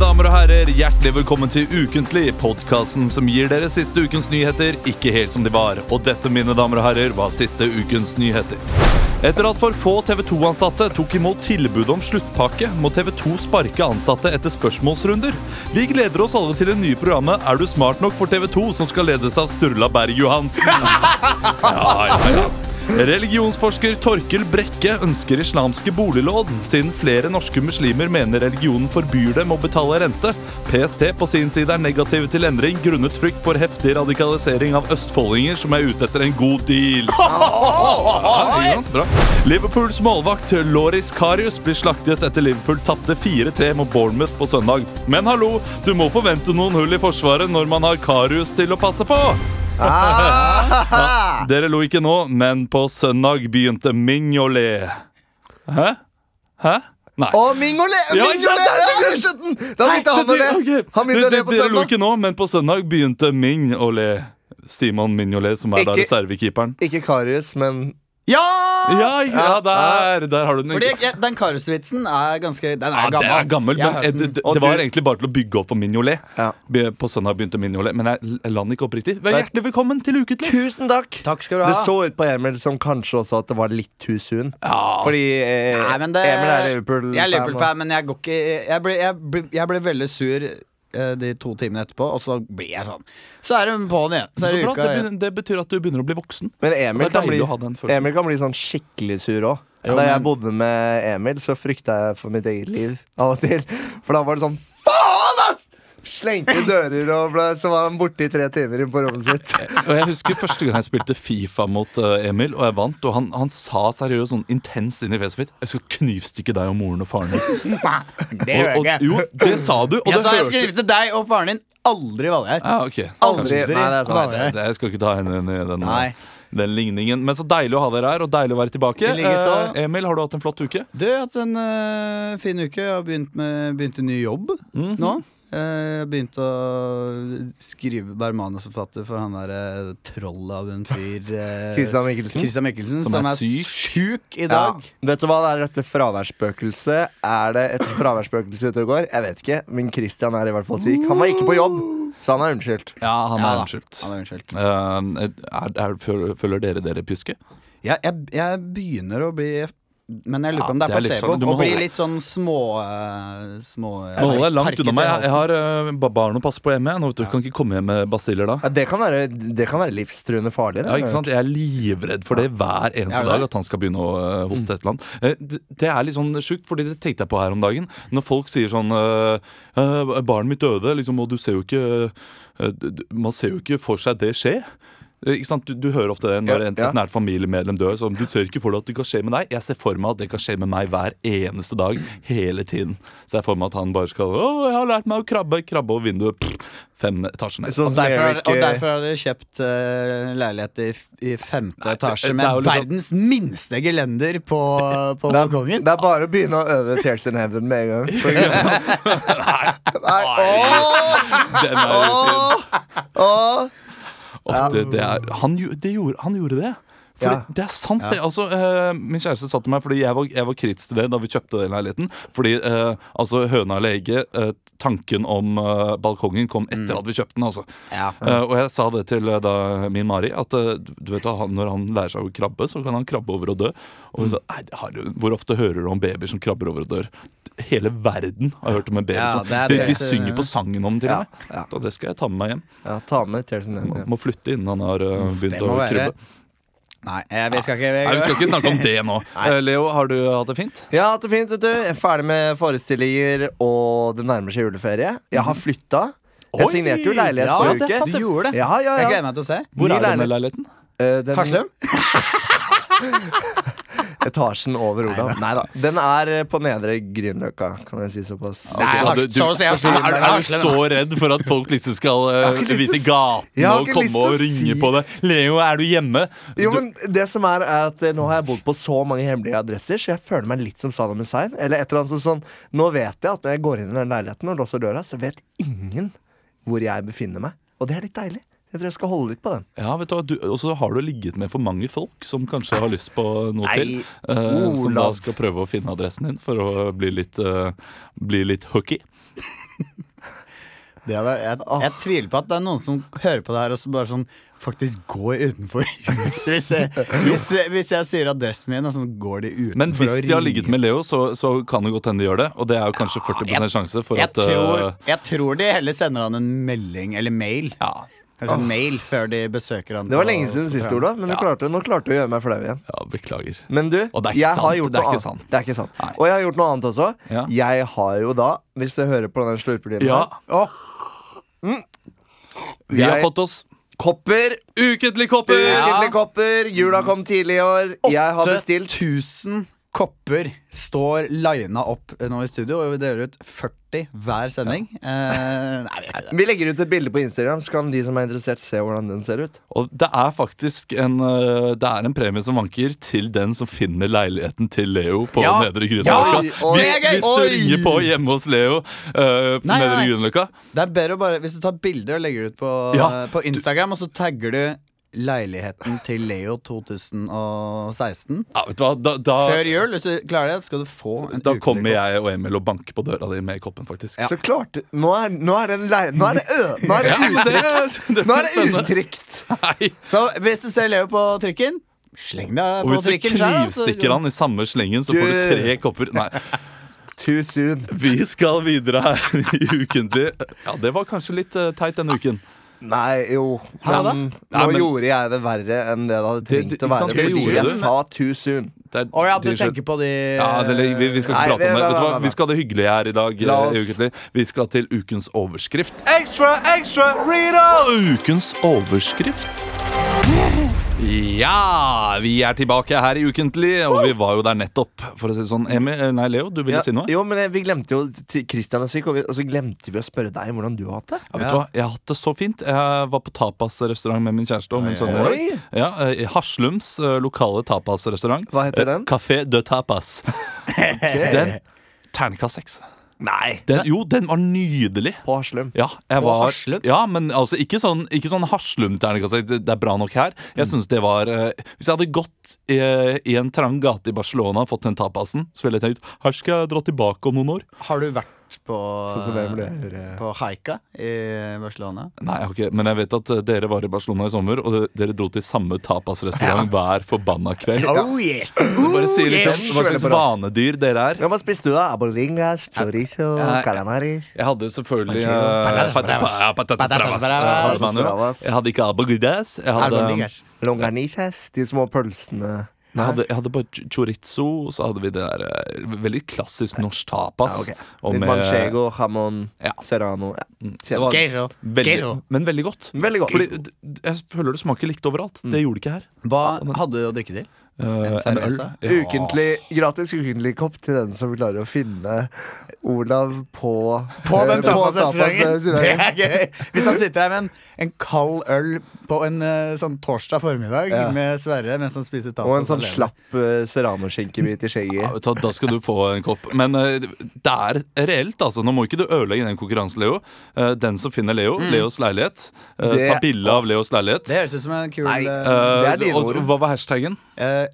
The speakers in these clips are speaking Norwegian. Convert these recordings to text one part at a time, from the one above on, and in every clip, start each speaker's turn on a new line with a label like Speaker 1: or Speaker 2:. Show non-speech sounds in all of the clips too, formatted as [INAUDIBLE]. Speaker 1: gutter, hjertelig velkommen til Ukentlig, podkasten som gir dere siste ukens nyheter ikke helt som de var. Og dette, mine damer og herrer, var siste ukens nyheter. Etter at for få TV 2-ansatte tok imot tilbud om sluttpakke, må TV 2 sparke ansatte etter spørsmålsrunder. Vi gleder oss alle til det nye programmet Er du smart nok for TV 2, som skal ledes av Sturla Berg Johansen. Ja, ja, ja. Religionsforsker Torkel Brekke ønsker islamske boliglån, siden flere norske muslimer mener religionen forbyr dem å betale rente. PST på sin side er negativ til endring grunnet frykt for heftig radikalisering av østfoldinger som er ute etter en god deal. Ja, ikke sant? Bra. Liverpools målvakt Loris Karius blir slaktet etter Liverpool tapte 4-3 mot Bournemouth på søndag. Men hallo, du må forvente noen hull i forsvaret når man har Karius til å passe på!
Speaker 2: Ah!
Speaker 1: Ja, dere lo ikke nå, men på søndag begynte Mignolet. Hæ? Hæ? Nei.
Speaker 2: Å, Mingole!
Speaker 1: Ja, ikke sant?
Speaker 2: Mingole! Jeg skjønte den! Da begynte han å le.
Speaker 1: Ok.
Speaker 2: Han begynte å le
Speaker 1: Dere-
Speaker 2: på
Speaker 1: Dere lo
Speaker 2: søndag.
Speaker 1: ikke nå, men på søndag begynte Mignolet. Simon Mignolet, som er da
Speaker 2: Ikke-
Speaker 1: reservekeeperen.
Speaker 2: Ikke Karius, men
Speaker 3: Ja!
Speaker 1: Ja, ja, der, der har du den.
Speaker 3: Fordi jeg, Den Karius-vitsen er ganske Den er
Speaker 1: Ja,
Speaker 3: gammel.
Speaker 1: det er gammel,
Speaker 3: Jeg
Speaker 1: men
Speaker 3: har hørt
Speaker 1: eh,
Speaker 3: den.
Speaker 1: det, det
Speaker 2: Og
Speaker 1: det var
Speaker 2: du-
Speaker 1: egentlig bare til å bygge opp for Mignolet.
Speaker 2: Ja.
Speaker 1: Be- På søndag begynte Mignolet, men jeg jeg la den ikke oppriktig. Vær hjertelig velkommen til Uketlig!
Speaker 2: Tusen takk.
Speaker 3: Takk skal du
Speaker 2: Det
Speaker 3: ha.
Speaker 2: så ut på Emil som kanskje også at det var litt too soon. Fordi eh,
Speaker 3: Nei, men det,
Speaker 2: Emil er Liverpool-fan.
Speaker 3: Jeg er
Speaker 2: og-
Speaker 3: Liverpool-fan, men jeg går ikke Jeg ble, jeg ble, jeg ble veldig sur eh, de to timene etterpå, og så blir jeg sånn. Så er hun på'n igjen. Så
Speaker 1: Så
Speaker 3: er det
Speaker 1: bra,
Speaker 3: uka
Speaker 1: det,
Speaker 3: igjen.
Speaker 1: begyn- det betyr at du begynner å bli voksen.
Speaker 2: Men Emil
Speaker 1: Det er
Speaker 2: kan,
Speaker 1: deilig å
Speaker 2: bli,
Speaker 1: ha den følelsen.
Speaker 2: Emil kan bli sånn skikkelig sur òg.
Speaker 3: Jo,
Speaker 2: Da jeg
Speaker 3: men-
Speaker 2: bodde med Emil, så frykta jeg for mitt eget liv av og til. For da var det sånn Faen, ass! Slengte dører, og ble, så var han borte i tre timer inn på rommet sitt.
Speaker 3: [LAUGHS]
Speaker 1: Og jeg husker første gang jeg spilte Fifa mot eh, Emil, og jeg vant. Og han, han sa seriøst sånn intenst inn i fjeset mitt Jeg skal knivstikke deg og moren og faren
Speaker 3: [LAUGHS]
Speaker 1: din.
Speaker 3: Nei,
Speaker 1: Og,
Speaker 3: det gjør jeg
Speaker 1: og,
Speaker 3: ikke.
Speaker 1: jo, det sa du. Og
Speaker 3: Jeg
Speaker 1: det
Speaker 3: sa jeg
Speaker 1: hørte
Speaker 3: skulle gifte deg og faren din. Aldri Valgjerd.
Speaker 1: ja, ok.
Speaker 2: Aldri. Nei, det er sant.
Speaker 3: Valgjerd.
Speaker 1: Det, jeg skal ikke ta henne inn i den,
Speaker 3: Nei.
Speaker 1: den ligningen. Men så deilig å ha dere her, og deilig å være tilbake.
Speaker 3: I like så.
Speaker 1: Eh, Emil, har du hatt en flott uke?
Speaker 3: Du, jeg har hatt en eh, fin uke. Jeg har begynt, med, begynt en ny jobb
Speaker 1: Mhm.
Speaker 3: nå. Eh, Jeg begynte å skrive være manusforfatter for han derre trollet av en fyr
Speaker 1: [LAUGHS]
Speaker 3: eh,
Speaker 2: Christian Mikkelsen.
Speaker 3: Christian Mikkelsen
Speaker 1: Som
Speaker 3: som,
Speaker 1: er
Speaker 3: er,
Speaker 1: syk.
Speaker 3: sjuk i
Speaker 2: Ja.
Speaker 3: dag.
Speaker 2: Vet du hva det er dette fraværsspøkelset? Er det et fraværsspøkelse ute og går? Jeg vet ikke, men Christian er i hvert fall syk. Han var ikke på jobb, så han er unnskyldt.
Speaker 1: Ja, han
Speaker 3: Ja
Speaker 1: er
Speaker 3: da.
Speaker 1: unnskyldt.
Speaker 3: Han er unnskyldt.
Speaker 1: Eh, er, er, føler føler dere dere pjuske?
Speaker 3: Jeg, jeg, jeg begynner å bli Men jeg lurer på
Speaker 1: Ja,
Speaker 3: om det
Speaker 1: det
Speaker 3: er
Speaker 1: er litt
Speaker 3: placebo.
Speaker 1: sånn, du må
Speaker 3: å bli
Speaker 1: holde-
Speaker 3: litt sånn små, eh, små
Speaker 1: Nå holder jeg langt
Speaker 3: harket
Speaker 1: unna
Speaker 3: i
Speaker 1: meg. Jeg, jeg
Speaker 3: halsen.
Speaker 1: har eh, ba- barn å passe på hjemme. jeg. Nå vet du, Kan ikke komme hjem med basiller da.
Speaker 2: Ja, det, kan være, det kan være livstruende farlig. det.
Speaker 1: Ja, ikke sant? Jeg er livredd for det hver eneste
Speaker 3: Er du det?
Speaker 1: dag, at han skal begynne å øh, hoste et eller annet. Eh, d- Det er litt sånn sjukt, fordi det tenkte jeg på her om dagen. Når folk sier sånn øh, øh, Barnet mitt døde, liksom, og du ser jo ikke øh, d- d- Man ser jo ikke for seg det skje. Eh, Ikke sant? Du, du hører ofte det når
Speaker 2: Ja,
Speaker 1: en,
Speaker 2: ja.
Speaker 1: et nært familiemedlem dør. Sånn, du ser ikke for deg at det kan skje med deg. Jeg ser for meg at det kan skje med meg hver eneste dag. Hele tiden. Så jeg ser for meg at han bare skal Å, jeg har lært meg å krabbe. Krabbe over vinduet. Pff, fem etasjer ned.
Speaker 2: Sånn
Speaker 3: Og
Speaker 2: som
Speaker 3: derfor, har-
Speaker 2: Erik,
Speaker 3: og
Speaker 2: eh,
Speaker 3: derfor har dere kjøpt eh, leilighet i, f- i femte etasje
Speaker 1: det
Speaker 3: med
Speaker 1: er jo liksom-
Speaker 3: verdens minste gelender på, på
Speaker 2: det, er,
Speaker 3: balkongen.
Speaker 2: det er bare å begynne å øve Tears in Heaven med en gang. For, nei,
Speaker 1: Den er jo fin.
Speaker 2: å, å.
Speaker 1: Ofte, det er, han, gjo- det gjorde, han gjorde det. For
Speaker 2: Ja.
Speaker 1: det, det er sant, det. Altså, eh, min kjæreste sa til meg, fordi jeg var, jeg var kritisk til det da vi kjøpte den leiligheten. Fordi eh, altså, høna eller egget, eh, tanken om eh, balkongen kom etter at vi kjøpte den. Altså.
Speaker 3: Mm. Ja.
Speaker 1: Eh, og jeg sa det til eh, da, min Mari, at eh, du du vet, hva, han, når han lærer seg å krabbe, så kan han krabbe over og dø. Og
Speaker 3: Mm.
Speaker 1: hun sa nei, det har, du- hvor ofte hører du om babyer som krabber over og dør? Hele verden har hørt om en baby
Speaker 3: Ja,
Speaker 1: som
Speaker 3: det er
Speaker 1: de, de
Speaker 3: helt-
Speaker 1: synger på sangen om, til
Speaker 2: Ja,
Speaker 1: og med.
Speaker 2: ja.
Speaker 1: Så det skal jeg ta med meg hjem.
Speaker 2: Ja, ta med Tears in Heaven.
Speaker 1: Må,
Speaker 2: ja.
Speaker 1: må flytte innen han har uh, begynt
Speaker 3: Det
Speaker 1: å
Speaker 3: må være
Speaker 1: krybbe.
Speaker 3: Nei, jeg vet ikke.
Speaker 1: Nei, Vi skal ikke snakke om det nå.
Speaker 2: [LAUGHS] Nei.
Speaker 1: Eh, Leo, har du hatt det fint?
Speaker 2: Jeg har hatt det fint, vet du. Jeg er ferdig med forestillinger, og det nærmer seg juleferie. Jeg har flytta.
Speaker 1: Oi!
Speaker 2: Jeg signerte jo leilighet
Speaker 1: Ja, det
Speaker 2: forrige
Speaker 1: er
Speaker 2: uke.
Speaker 1: sant,
Speaker 3: Du gjorde det.
Speaker 2: Ja, ja, ja.
Speaker 3: Jeg gleder meg til å se.
Speaker 1: Hvor
Speaker 2: Ny
Speaker 1: er den leiligheten?
Speaker 2: Eh, den-
Speaker 3: Haslum?
Speaker 2: Etasjen over Olav. Nei da. Den er eh, på nedre Grünerløkka, kan jeg si såpass.
Speaker 3: Nei,
Speaker 1: Ok,
Speaker 3: Hars-
Speaker 1: du- du-
Speaker 3: så å si Haslum.
Speaker 1: er, er du så redd for at folk liksom skal eh,
Speaker 2: Jeg har ikke
Speaker 1: vite
Speaker 2: lyst til å s-
Speaker 1: gaten
Speaker 2: Jeg har
Speaker 1: og
Speaker 2: ikke
Speaker 1: komme
Speaker 2: lyst til å
Speaker 1: og ringe
Speaker 2: si-
Speaker 1: på det? Leo, er du hjemme?
Speaker 2: Jo,
Speaker 1: Du-
Speaker 2: men det som er, er at eh, Nå har jeg bodd på så mange hemmelige adresser, så jeg føler meg litt som Saddam Hussein. Eller et eller annet sånn, sånn Nå vet jeg at når jeg går inn i den leiligheten og låser døra, så vet ingen hvor jeg befinner meg. Og det er litt deilig. Jeg tror jeg skal holde litt på den.
Speaker 1: Ja, vet du hva, du, Og så har du ligget med for mange folk som kanskje har lyst på noe
Speaker 2: Nei,
Speaker 1: til. eh, som da
Speaker 2: Olav.
Speaker 1: skal prøve å finne adressen din for å bli litt, eh, bli litt hooky.
Speaker 3: Det er, jeg, jeg tviler på at det er noen som hører på det her og som bare sånn faktisk går utenfor huset. Hvis jeg, hvis, jeg- hvis jeg sier adressen min, og sånn går de utenfor
Speaker 1: Men hvis
Speaker 3: og
Speaker 1: de har
Speaker 3: ringer.
Speaker 1: ligget med Leo, så, så kan det godt hende de gjør det. Og det er jo kanskje 40 sjanse for
Speaker 3: jeg
Speaker 1: at
Speaker 3: tror,
Speaker 1: øh,
Speaker 3: jeg tror de heller sender han en melding eller mail.
Speaker 1: ja,
Speaker 3: Eller en mail før de besøker han.
Speaker 2: Det var
Speaker 3: på-
Speaker 2: lenge siden
Speaker 3: på
Speaker 2: sist,
Speaker 3: trening.
Speaker 2: Olav, men du klarte, nå klarte du å gjøre meg flau igjen.
Speaker 1: ja, beklager.
Speaker 2: Men du,
Speaker 1: Og det er ikke
Speaker 2: jeg har
Speaker 1: sant,
Speaker 2: gjort
Speaker 1: det er
Speaker 2: noe
Speaker 1: ikke
Speaker 2: annet.
Speaker 1: sant.
Speaker 2: Det er ikke sant.
Speaker 1: Nei.
Speaker 2: Og jeg har gjort noe annet også.
Speaker 1: Ja.
Speaker 2: Jeg har jo da, hvis du hører på den slurpelyden
Speaker 1: Ja.
Speaker 2: her Åh. mm.
Speaker 1: Vi har
Speaker 2: Jeg-
Speaker 1: fått oss
Speaker 2: Kopper!
Speaker 1: ukentlig kopper!
Speaker 2: Ukentlige kopper! Jula kom tidlig i år. Jeg har bestilt
Speaker 3: 8000 kopper står lina opp eh, nå i studio, og vi deler ut 40 hver sending. Eh, nei, vi gjør ikke det.
Speaker 2: Vi legger ut et bilde på Instagram, så kan de som er interessert, se hvordan den ser ut.
Speaker 1: Og det er faktisk en, øh, det er en premie som vanker til den som finner leiligheten til Leo på
Speaker 3: Ja.
Speaker 1: Nedre
Speaker 3: Ja,
Speaker 1: Grünerløkka.
Speaker 3: oi,
Speaker 1: Hvis,
Speaker 3: oi.
Speaker 1: hvis du ringer på hjemme hos Leo øh, på
Speaker 3: Nei, nei,
Speaker 1: Nedre
Speaker 3: nei.
Speaker 1: Grünerløkka
Speaker 3: det er bedre å bare Hvis du tar bilder og legger det ut på,
Speaker 1: Ja,
Speaker 3: eh, på Instagram, og så tagger du leiligheten til Leo 2016
Speaker 1: ja, vet du hva, da, da,
Speaker 3: før jul. Hvis du klarer det, skal du få en
Speaker 1: da
Speaker 3: ukentlig
Speaker 1: kommer
Speaker 3: kopp.
Speaker 1: jeg og Emil og banker på døra di med koppen, faktisk.
Speaker 2: Så klart Nå er, nå er, den leir, nå er det ø... Nå er det,
Speaker 1: Ja, men
Speaker 2: ut,
Speaker 1: det, det
Speaker 2: nå
Speaker 1: blir
Speaker 2: er det
Speaker 1: spennende.
Speaker 2: utrygt!
Speaker 1: Nei.
Speaker 3: Så hvis du ser Leo på trikken, sleng
Speaker 1: Og
Speaker 3: deg på
Speaker 1: hvis du
Speaker 3: trikken. selv, så- altså-
Speaker 1: knivstikker han i samme slengen, så får du
Speaker 2: Du-
Speaker 1: tre kopper. Nei,
Speaker 2: Too soon.
Speaker 1: Vi skal videre her i Ukentlig. Ja, det var kanskje litt eh, teit denne uken.
Speaker 2: Nei, jo.
Speaker 3: Hæ, da?
Speaker 2: Men nå
Speaker 1: Nei, men-
Speaker 2: gjorde jeg det verre enn det det hadde
Speaker 1: Det-
Speaker 2: trengt
Speaker 1: det-
Speaker 2: å
Speaker 1: ikke sant,
Speaker 2: være.
Speaker 1: det
Speaker 2: Fordi
Speaker 1: gjorde
Speaker 2: jeg
Speaker 1: du.
Speaker 2: sa too soon.
Speaker 1: Det er-
Speaker 3: Å ja, du
Speaker 1: det skjer-
Speaker 3: tenker på de
Speaker 1: ja, det, vi, vi skal ikke
Speaker 2: Nei,
Speaker 1: prate
Speaker 2: det-
Speaker 1: om det. Vet du
Speaker 2: nei, nei,
Speaker 1: hva?
Speaker 2: nei.
Speaker 1: Vi skal ha det hyggelig her i dag.
Speaker 2: La
Speaker 1: eh, i
Speaker 2: oss-
Speaker 1: ukentlig. Vi skal til ukens overskrift. Extra, extra, Rita! Ukens overskrift. Ja, vi er tilbake her i Ukentlig, og vi var jo der nettopp. For å si det sånn, Emi, eh, nei, Leo, du ville
Speaker 2: Ja,
Speaker 1: si noe?
Speaker 2: jo, men eh, vi glemte jo til Christian er syk, og, vi, og så glemte vi å spørre deg hvordan du har hatt det.
Speaker 1: Ja, vet du hva? Jeg har hatt det så fint. Jeg var på tapasrestaurant med min kjæreste og min sønn. i dag.
Speaker 2: Oi.
Speaker 1: Ja, eh, i Haslums eh, lokale tapasrestaurant.
Speaker 2: Hva heter
Speaker 1: Eh,
Speaker 2: den?
Speaker 1: Café de
Speaker 2: [LAUGHS]
Speaker 1: Tapas. Den Ternekast seks.
Speaker 2: Nei.
Speaker 1: Den, jo, den var nydelig.
Speaker 2: På Haslum.
Speaker 1: Ja, jeg
Speaker 3: På
Speaker 1: var,
Speaker 3: Haslum?
Speaker 1: Ja, men altså, ikke sånn, ikke sånn Haslum-ternekast. seks, Det det er bra nok her. Jeg
Speaker 2: Mm.
Speaker 1: synes det var eh, Hvis jeg hadde gått eh, i en trang gate i Barcelona og fått den tapasen, så ville jeg tenkt her skal jeg dra tilbake om noen år.
Speaker 3: Har du vært på,
Speaker 2: Sånn som jeg ble
Speaker 1: Eh.
Speaker 2: høre.
Speaker 3: på Haika i Barcelona?
Speaker 1: [LAUGHS] Nei, jeg har ikke- men jeg vet at eh, dere var i Barcelona i sommer, og de- dere dro til samme tapasrestaurant hver forbanna kveld.
Speaker 3: Oh yeah!
Speaker 1: [LAUGHS] Bare si litt
Speaker 2: yes.
Speaker 1: om hva slags vanedyr dere er.
Speaker 2: Ja, hva spiste du, da? Abolingas, chorizo,
Speaker 1: Ja.
Speaker 2: calamaris?
Speaker 1: Jeg hadde selvfølgelig eh,
Speaker 2: Patatas
Speaker 3: bravas.
Speaker 1: patata- ja,
Speaker 3: Patatas
Speaker 1: patatas
Speaker 3: bravas.
Speaker 1: bravas.
Speaker 2: Bravas.
Speaker 1: Jeg hadde ikke abagudez. Jeg hadde eh,
Speaker 2: Longanisas? De små pølsene?
Speaker 1: jeg hadde, jeg hadde bare ch- chorizo, og så hadde vi det der eh, veldig klassisk norsk tapas.
Speaker 2: Ja, ok.
Speaker 1: Og
Speaker 2: Litt
Speaker 1: med-
Speaker 2: manchego, jamon,
Speaker 1: Ja. Mm.
Speaker 2: serrano. Ja.
Speaker 1: Det var
Speaker 3: Queso.
Speaker 1: veldig,
Speaker 3: Queso.
Speaker 1: men veldig godt.
Speaker 2: Veldig godt. Mm.
Speaker 1: Fordi d- d- jeg føler det smaker likt overalt. Det gjorde det ikke her.
Speaker 3: Hva hadde du å drikke til?
Speaker 1: Eh, en øl.
Speaker 3: cerveza?
Speaker 1: Ja.
Speaker 2: Ukentlig, gratis ukentlig kopp til den som klarer å finne Olav på
Speaker 3: På den
Speaker 2: eh,
Speaker 3: tapasrestauranten! Det
Speaker 2: tapasrestauranten.
Speaker 3: er gøy! Hvis han sitter her med en, en kald øl på en eh, sånn torsdag formiddag
Speaker 2: Ja.
Speaker 3: med Sverre mens han spiser tapas
Speaker 2: Og en sånn
Speaker 3: alene.
Speaker 2: slapp uh, serranoskinkebit
Speaker 1: Ja,
Speaker 2: i skjegget.
Speaker 1: vet du hva, da skal du få en kopp. Men eh, det er reelt, altså. Nå må ikke du ødelegge den konkurransen, Leo. Eh, den som finner Leo, Leos leilighet. eh,
Speaker 2: Det-
Speaker 1: ta bilde av Leos leilighet.
Speaker 3: Det høres ut som en kul
Speaker 2: Nei,
Speaker 1: Eh,
Speaker 3: eh,
Speaker 2: det er dine
Speaker 1: og,
Speaker 2: ord.
Speaker 1: hva var hashtaggen?
Speaker 3: eh,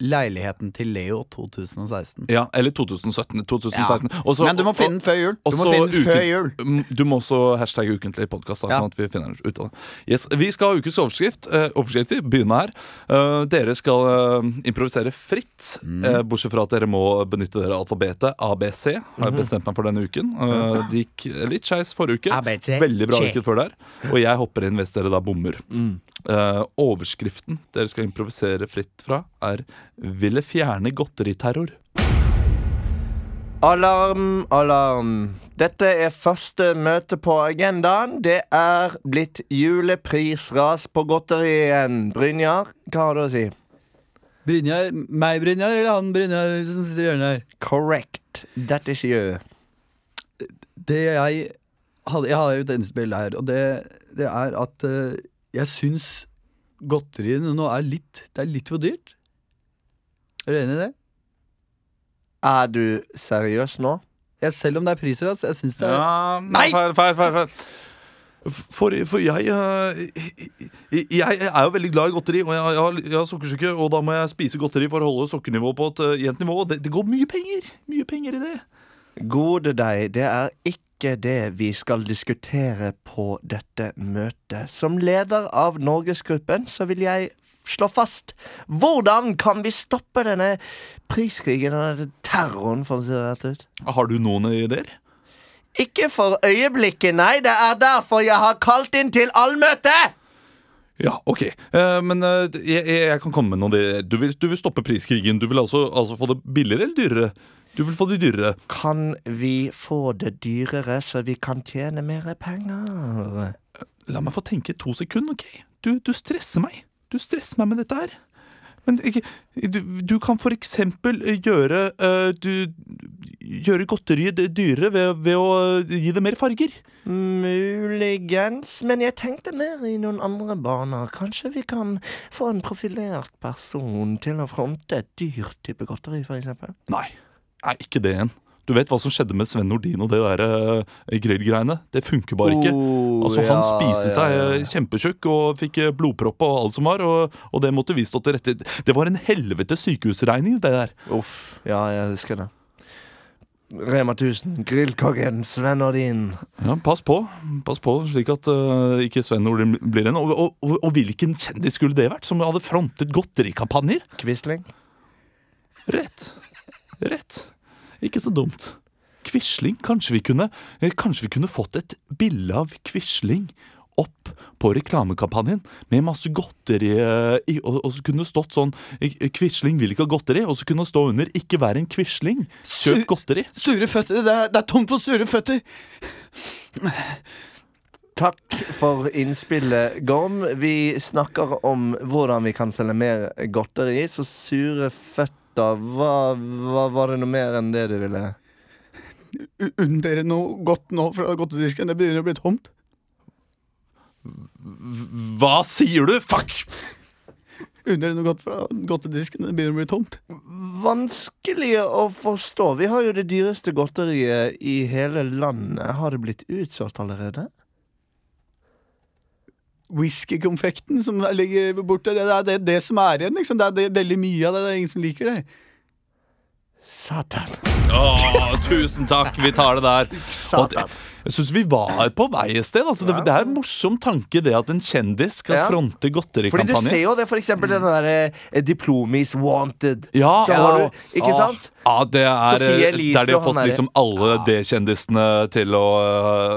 Speaker 3: Leiligheten til Leo 2016.
Speaker 1: Ja, eller 2017. 2016. Og så-
Speaker 3: Men du må finne den før jul!
Speaker 1: og
Speaker 3: Du må
Speaker 1: så
Speaker 3: finne den før
Speaker 1: uken-
Speaker 3: jul
Speaker 1: Mm, Du må også hashtagge ukentlig podkast.
Speaker 3: Ja.
Speaker 1: Sånn at vi finner ut av det. Yes, vi skal ha ukens overskrift. Eh, overskrifter begynner her. Eh, dere skal eh, improvisere fritt.
Speaker 3: Mm.
Speaker 1: Eh, bortsett fra at dere må benytte dere av alfabetet ABC. Har
Speaker 3: Mhm.
Speaker 1: jeg bestemt meg for denne uken. Eh, det gikk litt skeis forrige uke.
Speaker 3: ABC.
Speaker 1: Veldig bra
Speaker 3: Che.
Speaker 1: uke før der. Og jeg hopper inn hvis dere da bommer.
Speaker 3: Mm.
Speaker 1: Eh, overskriften dere skal improvisere fritt fra, er 'Ville fjerne godteriterror'.
Speaker 2: Alarm, alarm. Dette er første møte på agendaen. Det er blitt juleprisras på godteri igjen. Brynjar, hva har du å si?
Speaker 4: Brynjar, meg Brynjar, eller han Brynjar som sitter i hjørnet her?
Speaker 2: Correct. That is you.
Speaker 4: Det jeg hadde, jeg har et innspill her, og det, det er at eh, jeg syns godteriene nå er litt Det er litt for dyrt. Er du enig i det?
Speaker 2: Er du seriøs nå?
Speaker 4: Jeg, selv om det er priser, altså. Jeg syns det er
Speaker 1: Ja,
Speaker 3: Nei!
Speaker 1: Feil, feil, feil, feil. For, for jeg, eh, jeg Jeg er jo veldig glad i godteri, og jeg, jeg, har, jeg har sukkersyke. Og da må jeg spise godteri for å holde sukkernivået på et eh, jevnt nivå. og Det, det går mye penger mye penger i det.
Speaker 2: Gode deg, det er ikke ikke det vi skal diskutere på dette møtet. Som leder av Norgesgruppen så vil jeg slå fast hvordan kan vi stoppe denne priskrigen og denne terroren, for å si det rett ut.
Speaker 1: Har du noen ideer?
Speaker 2: Ikke for øyeblikket, nei. Det er derfor jeg har kalt inn til allmøte!
Speaker 1: Ja, ok. Eh, men eh, jeg, jeg jeg kan komme med noen ideer. Du vil, du vil stoppe priskrigen. Du vil altså, altså få det billigere eller dyrere? Du vil få det dyrere.
Speaker 2: Kan vi få det dyrere, så vi kan tjene mer penger?
Speaker 1: La meg få tenke to sekunder, ok? Du, du stresser meg. Du stresser meg med dette her. Men ikke, du, du kan for eksempel eh, gjøre, eh, du, gjøre godteriet d- dyrere ved, ved å eh, gi det mer farger.
Speaker 2: Muligens, men jeg tenkte mer i noen andre baner. Kanskje vi kan få en profilert person til å fronte et dyrt type godteri, for eksempel.
Speaker 1: Nei, Nei ikke det igjen. Du vet hva som skjedde med Sven Nordin og det der eh, grillgreiene? Det funker bare ikke.
Speaker 2: Oh,
Speaker 1: Altså Han
Speaker 2: ja,
Speaker 1: spiste
Speaker 2: ja,
Speaker 1: seg
Speaker 2: ja.
Speaker 1: eh, kjempetjukk og fikk eh, blodpropp og alt som var, og, og det måtte vi stå til rette Det var en helvete sykehusregning, det der.
Speaker 2: Uff. Ja, jeg husker det. Rema 1000, grillkongen Sven Ordin.
Speaker 1: Ja, Pass på, pass på slik at eh, ikke Sven Nordin blir en. Og, og, og, og hvilken kjendis skulle det vært som hadde frontet godterikampanjer?
Speaker 2: Quisling.
Speaker 1: Rett. Rett. Ikke så dumt. Quisling. Kanskje vi kunne eh, Kanskje vi kunne fått et bilde av Quisling opp på reklamekampanjen med masse godteri eh, i, og, og så kunne det stått sånn eh, 'Quisling vil ikke ha godteri', og så kunne det stå under 'Ikke vær en Quisling, kjøp
Speaker 3: Su-
Speaker 1: godteri'.
Speaker 3: Sure føtter! Det er, det er tomt for sure føtter!
Speaker 2: Takk for innspillet, Gorm. Vi snakker om hvordan vi kan selge mer godteri. Så sure føtter hva, hva Var det noe mer enn det du ville?
Speaker 3: U- Unn dere noe godt nå fra godtedisken. Det begynner å bli tomt.
Speaker 1: Hva sier du?! Fuck!
Speaker 3: Unn dere noe godt fra godtedisken. Det begynner å bli tomt.
Speaker 2: Vanskelig å forstå. Vi har jo det dyreste godteriet i hele landet. Har det blitt utsolgt allerede?
Speaker 3: Whiskykonfekten som ligger borte, det er det, det som er igjen. Liksom. Det er det, veldig mye av det. Det er ingen som liker det.
Speaker 2: Satan.
Speaker 1: Åh, tusen takk, vi tar det der. Og at-
Speaker 2: Satan.
Speaker 1: Jeg syns vi var på vei et sted. Altså, det, det er en morsom tanke det at en kjendis skal
Speaker 2: Ja.
Speaker 1: fronte
Speaker 2: Fordi du ser
Speaker 1: godterikampanjer.
Speaker 2: jo det, for eksempel den derre eh, Diplomis Wanted.
Speaker 1: Ja,
Speaker 2: Så har
Speaker 1: ja.
Speaker 2: du, ikke
Speaker 1: Ah.
Speaker 2: sant?
Speaker 1: Ja, det er,
Speaker 2: Sophie
Speaker 1: eh,
Speaker 2: Elise
Speaker 1: der de har
Speaker 2: og han
Speaker 1: fått
Speaker 2: der.
Speaker 1: liksom alle D-kjendisene til å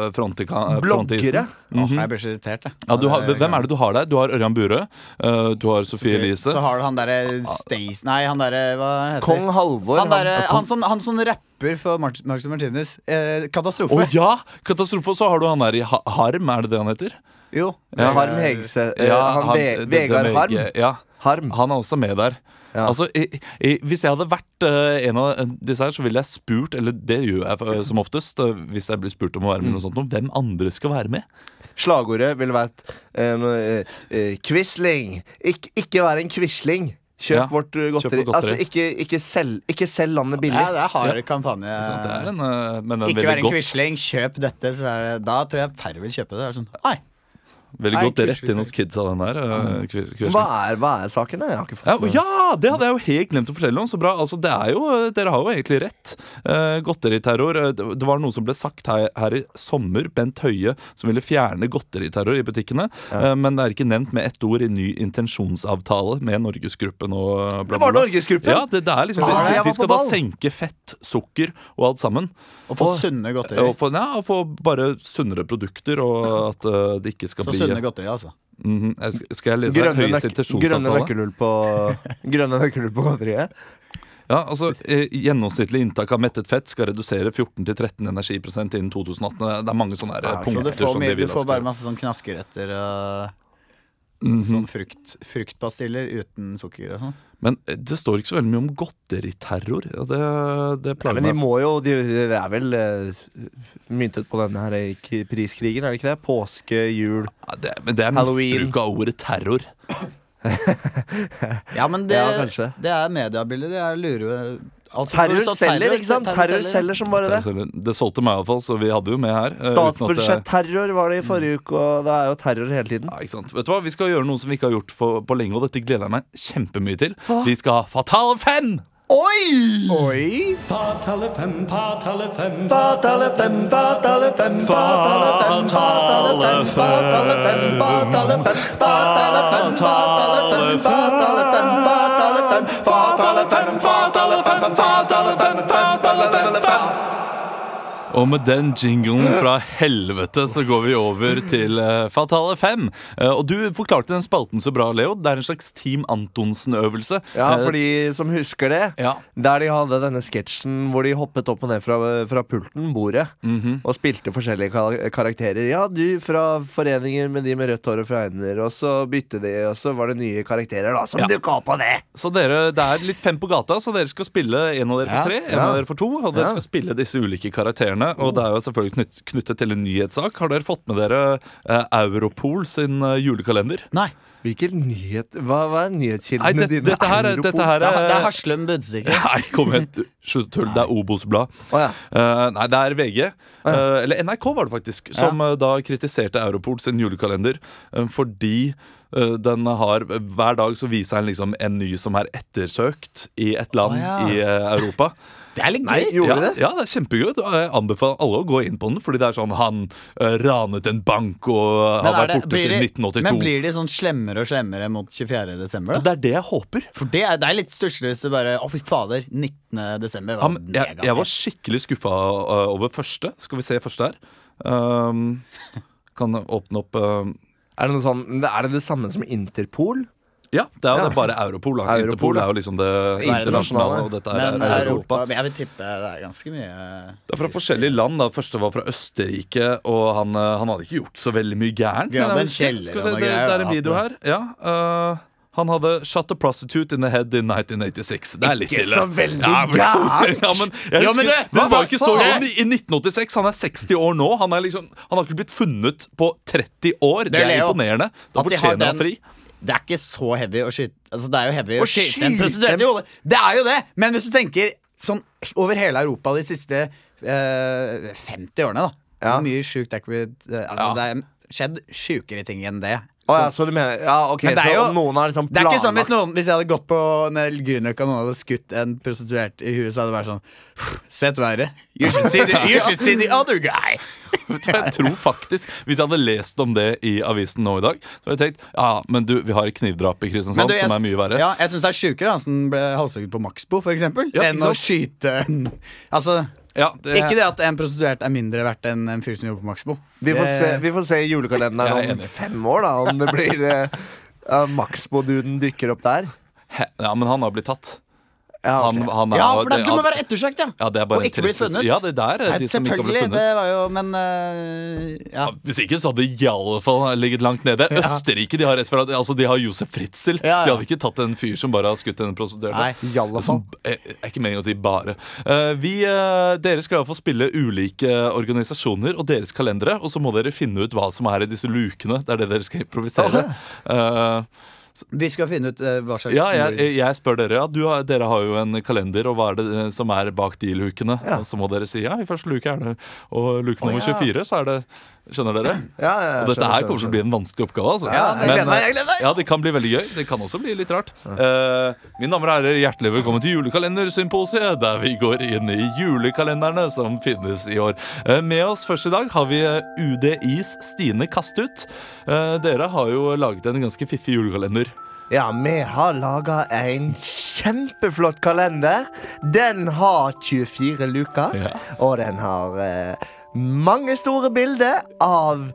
Speaker 1: eh, fronte, ka- fronte
Speaker 2: Bloggere.
Speaker 1: isen. Mhm.
Speaker 3: Jeg blir så irritert, jeg.
Speaker 1: Ja, du har, hvem er det du har der? Du har Ørjan Burøe. eh, du har Sophie Elise.
Speaker 3: Så har du han derre Stace Nei, han derre Hva heter
Speaker 2: Kong Halvor.
Speaker 3: han, derre-
Speaker 2: han-
Speaker 3: han, som, han som rapper for Mar- Marcus Martinez. Eh, katastrofe.
Speaker 1: Å ja! Katastrofe. Og så har du han der i Ha- Harm, er det det han heter?
Speaker 3: Jo.
Speaker 2: Ja, Harm Hegse. eh, han, Ve-
Speaker 1: det- det-
Speaker 2: Vegard
Speaker 1: det-
Speaker 2: Harm.
Speaker 1: Ja,
Speaker 2: Harm.
Speaker 1: Mm. Han er også med der.
Speaker 2: Ja.
Speaker 1: Altså, i, i, hvis jeg hadde vært eh, en av disse her, så ville jeg spurt, eller det gjør jeg eh, som oftest, eh, hvis jeg blir spurt om å være med,
Speaker 2: Mm.
Speaker 1: i noe sånt, om hvem andre skal være med.
Speaker 2: Slagordet ville vært eh, noe, eh, eh, Quisling. Ikk- ikke vær en quisling. Kjøp
Speaker 1: Ja,
Speaker 2: vårt eh, godteri.
Speaker 1: vårt godteri.
Speaker 2: Altså, ikke, ikke, selg, ikke selg landet billig.
Speaker 3: Ja, det er hard kampanje.
Speaker 1: Så det er en, eh, men en
Speaker 3: Ikke vær
Speaker 1: veldig
Speaker 3: en
Speaker 1: godt,
Speaker 3: quisling, kjøp dette. Så er det, da tror jeg færre vil kjøpe det. det er sånn, nei,
Speaker 1: veldig
Speaker 3: Nei,
Speaker 1: godt rett
Speaker 3: Quisling.
Speaker 1: inn hos kidsa, den der. eh, Qui- Quisling.
Speaker 2: hva, er, hva er saken? da? Jeg har ikke fått
Speaker 1: Ja, og ja, det hadde jeg jo helt glemt å fortelle om. Så bra. Altså, det er jo, dere har jo egentlig rett. Eh, godteriterror. eh, Det det var noe som ble sagt her, her i sommer. Bent Høie som ville fjerne godteriterror i butikkene. Eh, men det er ikke nevnt med ett ord i ny intensjonsavtale med Norgesgruppen og bla, bla,
Speaker 2: Det var
Speaker 1: bla.
Speaker 2: Norgesgruppen?
Speaker 1: Ja, det, det er liksom,
Speaker 2: Ah,
Speaker 1: de,
Speaker 2: jeg var
Speaker 1: de
Speaker 2: på
Speaker 1: skal da
Speaker 2: ball.
Speaker 1: senke fett, sukker og alt sammen.
Speaker 3: Og få sunne godteri.
Speaker 1: Og få, ja, og få bare sunnere produkter, og at eh, det ikke skal
Speaker 3: Så
Speaker 1: bli
Speaker 3: sunne godteri, altså.
Speaker 1: Mhm, jeg skal- Skal jeg lese
Speaker 2: Grønne,
Speaker 1: Høies
Speaker 2: nøk grønne
Speaker 1: intensjonsavtale?
Speaker 2: nøkkelhull på Grønne nøkkelhull på godteriet.
Speaker 1: Ja, altså eh, Gjennomsnittlig inntak av mettet fett skal redusere 14-13 energiprosent innen 2018. Det er- Det er mange sånne her, eh,
Speaker 2: så
Speaker 3: Så
Speaker 1: punkter
Speaker 3: du får,
Speaker 1: som
Speaker 3: mye,
Speaker 1: de
Speaker 3: du
Speaker 1: vil
Speaker 3: får
Speaker 1: at
Speaker 3: bare
Speaker 1: skal-
Speaker 3: masse sånn knaskerøtter og
Speaker 2: Mhm.
Speaker 3: sånn frukt, fruktpastiller uten sukker og sånn.
Speaker 1: Men eh, det står ikke så veldig mye om godteriterror. Ja, det, det plager
Speaker 2: Men de
Speaker 1: meg.
Speaker 2: må jo De, de er vel eh, myntet på denne her k- priskrigen, er det ikke det? Påske, jul
Speaker 1: Ja, det, men det er
Speaker 2: Halloween.
Speaker 1: misbruk av ordet terror.
Speaker 3: Ja, men det,
Speaker 2: Ja, kanskje.
Speaker 3: det er mediebildet. Det er lure... Altså, når det
Speaker 2: Terror
Speaker 3: står
Speaker 2: selger, ikke sant? Terror selger som bare det.
Speaker 1: Det solgte meg iallfall, så vi hadde jo med her. eh, uten at det-
Speaker 2: Statsbudsjett-terror var det i forrige uke, og det er jo terror hele tiden.
Speaker 1: Ja, ikke sant? Vet du hva? Vi skal gjøre noe som vi ikke har gjort for, på lenge, og dette gleder jeg meg kjempemye til. Vi skal ha Fatal 5!
Speaker 2: Å, Oi! Oi!
Speaker 5: Fatale fem, fatale fem,
Speaker 2: Fatale fem, fatale fem, fatale fem, fatale fem, fatale fem, fatale fem, fatale fem, fatale fem, fatale fem, fatale fem, fatale fem, fatale fem, fatale fem, fatale fem, fatale fem.
Speaker 1: Og med den jinglen fra helvete så går vi over til eh, Fatale 5. og du forklarte den spalten så bra, Leo. Det er en slags Team Antonsen-øvelse.
Speaker 2: Ja,
Speaker 1: Eh,
Speaker 2: for de som husker det.
Speaker 1: Ja.
Speaker 2: Der de hadde denne sketsjen hvor de hoppet opp og ned fra, fra pulten, bordet,
Speaker 1: Mhm.
Speaker 2: og spilte forskjellige kar- karakterer. Ja, du fra foreningen med de med rødt hår og fra øyne, og så bytte de, og så var det nye karakterer da som
Speaker 1: Ja.
Speaker 2: dukka opp av det.
Speaker 1: Så dere, det er litt fem på gata, så dere skal spille en av dere
Speaker 2: Ja,
Speaker 1: for tre, en
Speaker 2: ja.
Speaker 1: av dere for to. Og dere
Speaker 2: Ja.
Speaker 1: skal spille disse ulike karakterene. Og det er jo selvfølgelig knytt, knyttet til en nyhetssak. Har dere fått med dere eh, Europol sin eh, julekalender?
Speaker 3: Nei.
Speaker 2: Hvilken nyhet Hva, hva er nyhetskildene
Speaker 1: Nei, det,
Speaker 2: dine?
Speaker 1: dette her er,
Speaker 2: Europol?
Speaker 1: dette her
Speaker 3: Det
Speaker 1: er
Speaker 3: er, det er Haslum Budstikke.
Speaker 1: [LAUGHS] Nei, kom igjen. Slutt å tulle. Det er Obos-blad.
Speaker 2: Å, ja.
Speaker 1: Eh, nei, det er VG, eh, eller NRK var det faktisk, som eh, da kritiserte Europol sin julekalender eh, fordi eh, den har Hver dag så viser den liksom en ny som er ettersøkt i et land
Speaker 3: Å, ja.
Speaker 1: i eh, Europa.
Speaker 3: Det er litt
Speaker 2: Nei,
Speaker 3: gøy.
Speaker 2: gjorde
Speaker 1: ja,
Speaker 2: de det?
Speaker 1: Ja, det er kjempegøy. Jeg anbefaler alle å gå inn på den, fordi det er sånn han eh, ranet en bank og eh, har
Speaker 3: Men, er
Speaker 1: vært
Speaker 3: det,
Speaker 1: borte
Speaker 3: blir
Speaker 1: siden
Speaker 3: de,
Speaker 1: 1982.
Speaker 3: men blir de sånn slemmere og slemmere mot 24. desember? Da?
Speaker 1: Det er det jeg håper.
Speaker 3: For det er, det er litt stusslig hvis du bare Å, fy fader, 19. desember var
Speaker 1: Han, jeg, jeg var
Speaker 3: megatrist.
Speaker 1: skikkelig skuffa eh, over første. Skal vi se første her. Um, kan åpne opp eh,
Speaker 2: Er det noe sånn Er det det samme som Interpol?
Speaker 1: Ja, det er jo
Speaker 2: Ja.
Speaker 1: det bare Europol. Da.
Speaker 2: Europol,
Speaker 1: Interpol
Speaker 2: ja.
Speaker 1: er jo liksom det internasjonale,
Speaker 2: internasjonale.
Speaker 1: og dette er,
Speaker 3: Men
Speaker 1: er
Speaker 3: Europa,
Speaker 1: Europa.
Speaker 3: Men Jeg vil tippe det er ganske mye
Speaker 1: Det er fra forskjellige land. da Første var fra Østerrike, og han, eh, han hadde ikke gjort så veldig mye gærent. men
Speaker 3: Ja,
Speaker 1: han-
Speaker 3: den kjeller
Speaker 1: Skal vi
Speaker 3: og
Speaker 1: se,
Speaker 3: noe
Speaker 1: det,
Speaker 3: greier,
Speaker 1: det er en
Speaker 3: da,
Speaker 1: video her. Ja, eh, han hadde 'Shut a prostitute in the head in 1986'. Det er litt
Speaker 2: Ikke
Speaker 1: ille.
Speaker 2: så veldig
Speaker 1: ja, men,
Speaker 2: gærent.
Speaker 1: [LAUGHS] Ja, men, jeg
Speaker 3: Ja,
Speaker 1: husker,
Speaker 3: men det-
Speaker 1: den var jo ikke så
Speaker 3: hva faen?
Speaker 1: gammel i 1986. Han er 60 år nå. Han, er liksom, han har ikke blitt funnet på 30 år. Det er,
Speaker 3: Leo.
Speaker 1: imponerende. Da
Speaker 3: At de har
Speaker 1: fortjener han
Speaker 3: den-
Speaker 1: fri. [LAUGHS]
Speaker 3: Det er ikke så heavy å skyte Altså det er jo heavy å,
Speaker 2: Å
Speaker 3: skyte en
Speaker 2: skyte
Speaker 3: prostituert
Speaker 2: en-
Speaker 3: i hodet. Det er jo det! Men hvis du tenker sånn over hele Europa de siste eh, 50 årene, da
Speaker 2: Ja.
Speaker 3: Hvor mye sjukt det er ikke blitt eh, altså,
Speaker 1: Ja.
Speaker 3: Det er skjedd sjukere ting enn det.
Speaker 2: Å ja, så du mener Ja, ok,
Speaker 3: Men det er
Speaker 2: så
Speaker 3: jo-
Speaker 2: noen har liksom
Speaker 3: Det er ikke sånn hvis,
Speaker 2: planlagt
Speaker 3: noen, hvis jeg hadde gått på en Grünerløkka og noen hadde skutt en prostituert i huet, så hadde det vært sånn Sett verre. You should see the, you should see the other guy.
Speaker 1: Vet du hva,
Speaker 3: [LAUGHS]
Speaker 1: Jeg tror faktisk, Hvis jeg hadde lest om det i avisen nå i dag, Så hadde jeg tenkt ja, men du, vi har et knivdrap i
Speaker 3: Men
Speaker 1: Kristiansand
Speaker 3: du, jeg-
Speaker 1: Sånn som er mye verre.
Speaker 3: Ja, jeg syns det er sjukere han som ble halshugd på Maxbo, for eksempel,
Speaker 1: Ja,
Speaker 3: enn
Speaker 1: ikke
Speaker 3: å skyte en Altså
Speaker 1: Ja, det,
Speaker 3: Ikke det at en prostituert er mindre verdt enn en fyr som jobber på Maxbo.
Speaker 2: Vi får
Speaker 3: Det-
Speaker 2: se, vi får se i
Speaker 1: Eh, Jeg er
Speaker 2: julekalenderen om
Speaker 1: enig.
Speaker 2: fem år, da, om det blir eh, ja, Maxbo-duden dukker opp der.
Speaker 1: he- ja, Men han har blitt tatt.
Speaker 2: Ja, ok.
Speaker 1: Han, han er,
Speaker 3: Ah, Ja, for da
Speaker 1: det-
Speaker 3: kunne man
Speaker 1: han-
Speaker 3: være ettersøkt, ja.
Speaker 1: ja, det er bare
Speaker 3: og
Speaker 1: en
Speaker 3: ikke blitt
Speaker 1: trist-
Speaker 3: funnet.
Speaker 1: Ja, det der er
Speaker 3: Nei,
Speaker 1: de som ikke har blitt
Speaker 3: selvfølgelig.
Speaker 1: funnet.
Speaker 3: Det var jo Men øh, ja.
Speaker 1: Ja, hvis ikke så hadde de iallfall ligget langt nede. Østerrike de har rett for at, altså, de har Josef Fritzl.
Speaker 3: Ja, ja.
Speaker 1: De hadde ikke tatt en fyr som bare har skutt en prostituert.
Speaker 3: Nei.
Speaker 2: I alle fall.
Speaker 1: Som, eh, er ikke meningen å si bare. Eh, vi, eh, dere skal få spille ulike organisasjoner og deres kalendere, og så må dere finne ut hva som er i disse lukene. Det er det dere skal improvisere. Eh,
Speaker 3: Vi skal finne ut øh, hva slags
Speaker 1: ja,
Speaker 3: mord.
Speaker 1: jeg, jeg spør dere. Ja, du har, dere har jo en kalender, og hva er det eh, som er bak de lukene? Og så må dere si ja, i første luke er det Og luke nummer 24, så er det Skjønner dere?
Speaker 2: Ja, ja,
Speaker 1: Og dette
Speaker 2: skjønner,
Speaker 1: her kommer til å bli en vanskelig oppgave. Altså.
Speaker 2: Ja, jeg gleder meg, jeg gleder meg.
Speaker 1: Ja, Det kan bli veldig gøy. Det kan også bli litt rart. Eh, mine damer og herrer, hjertelig velkommen til julekalendersymposiet, der vi går inn i julekalenderne som finnes i år. Eh, med oss først i dag har vi eh, UDIs Stine Kastut. Eh, dere har jo laget en ganske fiffig julekalender.
Speaker 2: Ja, vi har laga en kjempeflott kalender. Den har 24 luker,
Speaker 1: Ja.
Speaker 2: og den har eh, mange store bilder av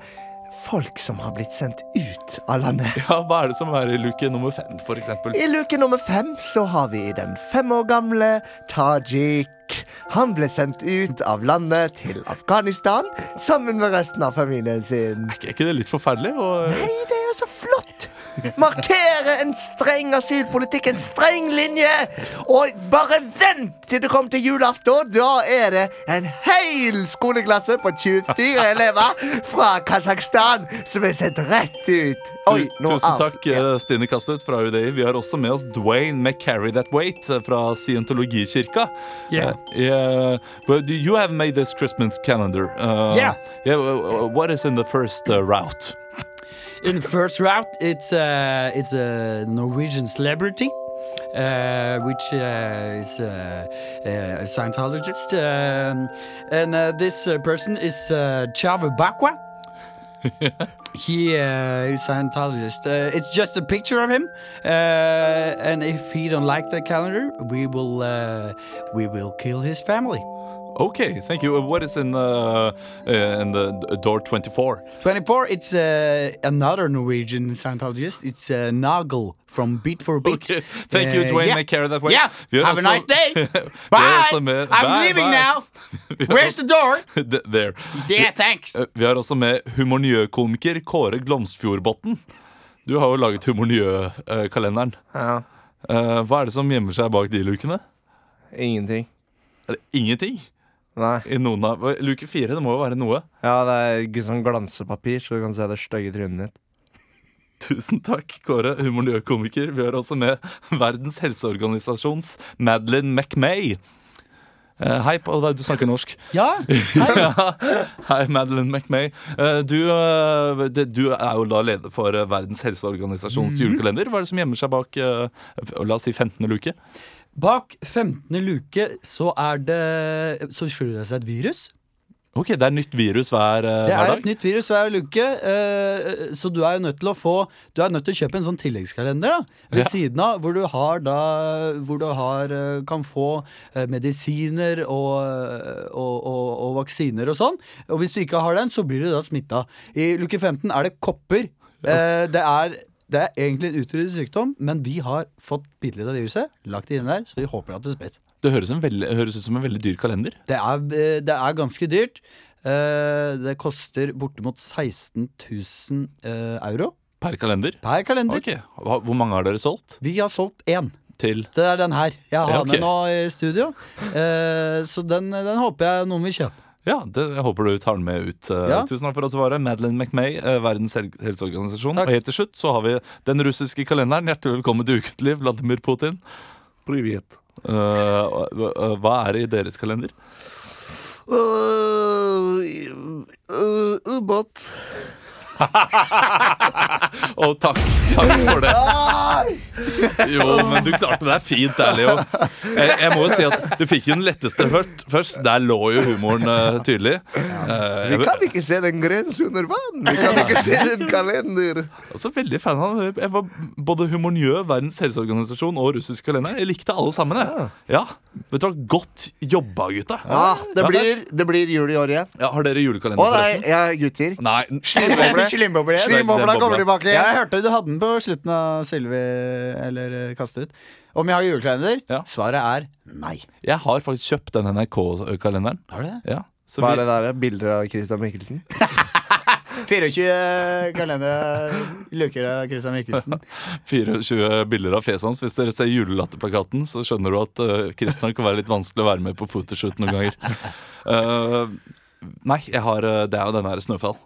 Speaker 2: folk som har blitt sendt ut av landet.
Speaker 1: [LAUGHS] Ja, Hva er det som er i luke nummer fem, for eksempel?
Speaker 2: I luke nummer fem så har vi den fem år gamle Tajik. Han ble sendt ut av landet til Afghanistan sammen med resten av familien sin.
Speaker 1: Er ikke det litt forferdelig? Og,
Speaker 2: Nei, det er jo så flott! Markere en streng asylpolitikk, en streng linje! Og bare vent til du kommer til julaften! Da er det en hel skoleklasse på 24 elever fra Kasakhstan som er sendt rett ut. Oi, nå
Speaker 1: Tusen
Speaker 2: av-
Speaker 1: takk, eh, Stine Kastut fra UDI. Vi har også med oss Dwayne McCarry That Wait eh, fra Scientologikirka.
Speaker 5: Yeah.
Speaker 1: Uh, yeah. But you have made this Christmas calendar. Uh,
Speaker 5: Yeah.
Speaker 1: yeah, uh, uh, what is in the first uh, route?
Speaker 5: In the first route, it's uh, it's a Norwegian celebrity.
Speaker 3: uh, which uh, is uh, uh, a Scientologist. Um, and uh, this uh, person is uh, Chava Bakwa. he uh, is Scientologist. Uh, it's just a picture of him, uh, and if he don't like the calendar, we will uh, we will kill his family.
Speaker 1: Okay, thank you. Uh, What is in uh, uh, in the d- door 24?
Speaker 3: 24, it's uh, another Norwegian Scientologist. It's uh, Nagel from Beat for Beat.
Speaker 1: Okay. [LAUGHS] Thank you,
Speaker 3: Uh,
Speaker 1: Dwayne
Speaker 3: yeah.
Speaker 1: McCarran, that way.
Speaker 3: Yeah,
Speaker 1: Vi gjør
Speaker 3: have a
Speaker 1: altså-
Speaker 3: nice day.
Speaker 1: [LAUGHS] Vi gjør
Speaker 3: Bye,
Speaker 1: altså med-
Speaker 3: I'm
Speaker 1: Bye, bye. [LAUGHS]
Speaker 3: leaving now. Where's the door?
Speaker 1: D- There.
Speaker 3: Yeah, thanks.
Speaker 1: Eh, Vi har også med humornjøkomiker Kåre Glomsfjordbotn. Du har jo laget humornjø-kalenderen.
Speaker 2: Ja,
Speaker 1: Eh, Hva er det som gjemmer seg bak de lukene?
Speaker 2: ingenting.
Speaker 1: Er det ingenting?
Speaker 2: Nei.
Speaker 1: I noen av Luke fire, det må jo være noe.
Speaker 2: Ja, det er ikke sånn glansepapir, så du kan se det stygge trynet ditt.
Speaker 1: Tusen takk, Kåre, humornjøkomiker. Vi har også med Verdens helseorganisasjons Madeleine McMay. Eh, hei på deg, du snakker norsk.
Speaker 5: Ja,
Speaker 1: [LAUGHS] Hei, Madeleine McMay. Eh, du, eh, det, du er jo da leder for eh, Verdens helseorganisasjons
Speaker 5: Mhm.
Speaker 1: julekalender. Hva er det som gjemmer seg bak eh, la oss si 15. luke?
Speaker 5: Bak 15. luke så er det Så skjuler det seg et virus.
Speaker 1: Ok, det er nytt virus hver, eh,
Speaker 5: Det
Speaker 1: hver
Speaker 5: er
Speaker 1: dag?
Speaker 5: et nytt virus hver luke, eh, så du er jo nødt til å få Du er nødt til å kjøpe en sånn tilleggskalender da ved siden av, hvor du har da Hvor du har, eh, kan få eh, medisiner og, eh, og, og, og vaksiner og sånn. Og hvis du ikke har den, så blir du da smitta. I luke 15 er det kopper. Eh, det er det er egentlig en utryddet sykdom, men vi har fått bitte litt av viruset. Lagt det inn der, så vi håper at det spres.
Speaker 1: Det høres, en veldig, høres ut som en veldig dyr kalender.
Speaker 5: Det er, eh, det er ganske dyrt. Eh, Det koster bortimot 16 000 eh, euro
Speaker 1: Per kalender.
Speaker 5: per kalender.
Speaker 1: Ok, Hva- Hvor mange har dere solgt
Speaker 5: Vi har solgt én.
Speaker 1: til?
Speaker 5: Det er den her. Jeg har
Speaker 1: Ja, ok.
Speaker 5: den nå i studio. Eh, Så den, den håper jeg noen vil kjøpe.
Speaker 1: Ja, det jeg håper du tar den med ut. Eh,
Speaker 5: Ja.
Speaker 1: Tusen takk for at du var her. Madeleine McMay, eh, Verdens hel- helseorganisasjon.
Speaker 5: Takk.
Speaker 1: Og helt til slutt så har vi den russiske kalenderen. Hjertelig velkommen til Ukentlig, Vladimir Putin.
Speaker 2: Privet.
Speaker 1: Eh, og- og- og hva er det i deres kalender?
Speaker 2: Ubåt.
Speaker 1: Og takk, takk for det.
Speaker 2: Ah!
Speaker 1: Jo, men du klarte det er fint, der, Leo. Jeg, jeg må jo si at du fikk jo den letteste hørt først. Der lå jo humoren eh, tydelig. Eh,
Speaker 2: Vi
Speaker 1: jeg-
Speaker 2: kan ikke se den grensen under vann! Vi kan ikke se den kalender!
Speaker 1: Altså, veldig fan av han. Jeg var både Humorniø, Verdens helseorganisasjon og russisk kalender. Jeg likte alle sammen. Jeg. Ja. Vet du hva? Godt jobba, gutta.
Speaker 2: Ja, Ah, det
Speaker 1: Ja,
Speaker 2: blir, det blir jul i år igjen.
Speaker 1: Ja, har dere julekalender,
Speaker 2: Å nei,
Speaker 1: forresten?
Speaker 2: ja, gutter.
Speaker 1: Nei.
Speaker 3: Slimbobler.
Speaker 1: Slim-
Speaker 2: Slimbobla
Speaker 1: den
Speaker 2: kommer
Speaker 1: bobla.
Speaker 2: tilbake
Speaker 3: Ja,
Speaker 2: igjen.
Speaker 3: jeg hørte du hadde den på slutten av Sylvi Eller eh, kastet ut. Om jeg har julekalender?
Speaker 1: Ja.
Speaker 3: Svaret er nei.
Speaker 1: Jeg har faktisk kjøpt den NRK-kalenderen.
Speaker 3: Har du det?
Speaker 1: Ja. Så
Speaker 2: Hva
Speaker 1: vi,
Speaker 2: er det der? Bilder av Christian Mikkelsen?
Speaker 3: 24 kalendere luker av Christian
Speaker 1: [LAUGHS]
Speaker 3: Mikkelsen.
Speaker 1: 24 bilder av fjeset hans. Hvis dere ser julelatterplakaten, så skjønner du at eh, Christian kan være litt vanskelig å være med på photoshoot noen
Speaker 2: [LAUGHS]
Speaker 1: ganger. Eh, nei, jeg har, eh, det er jo denne her Snøfall.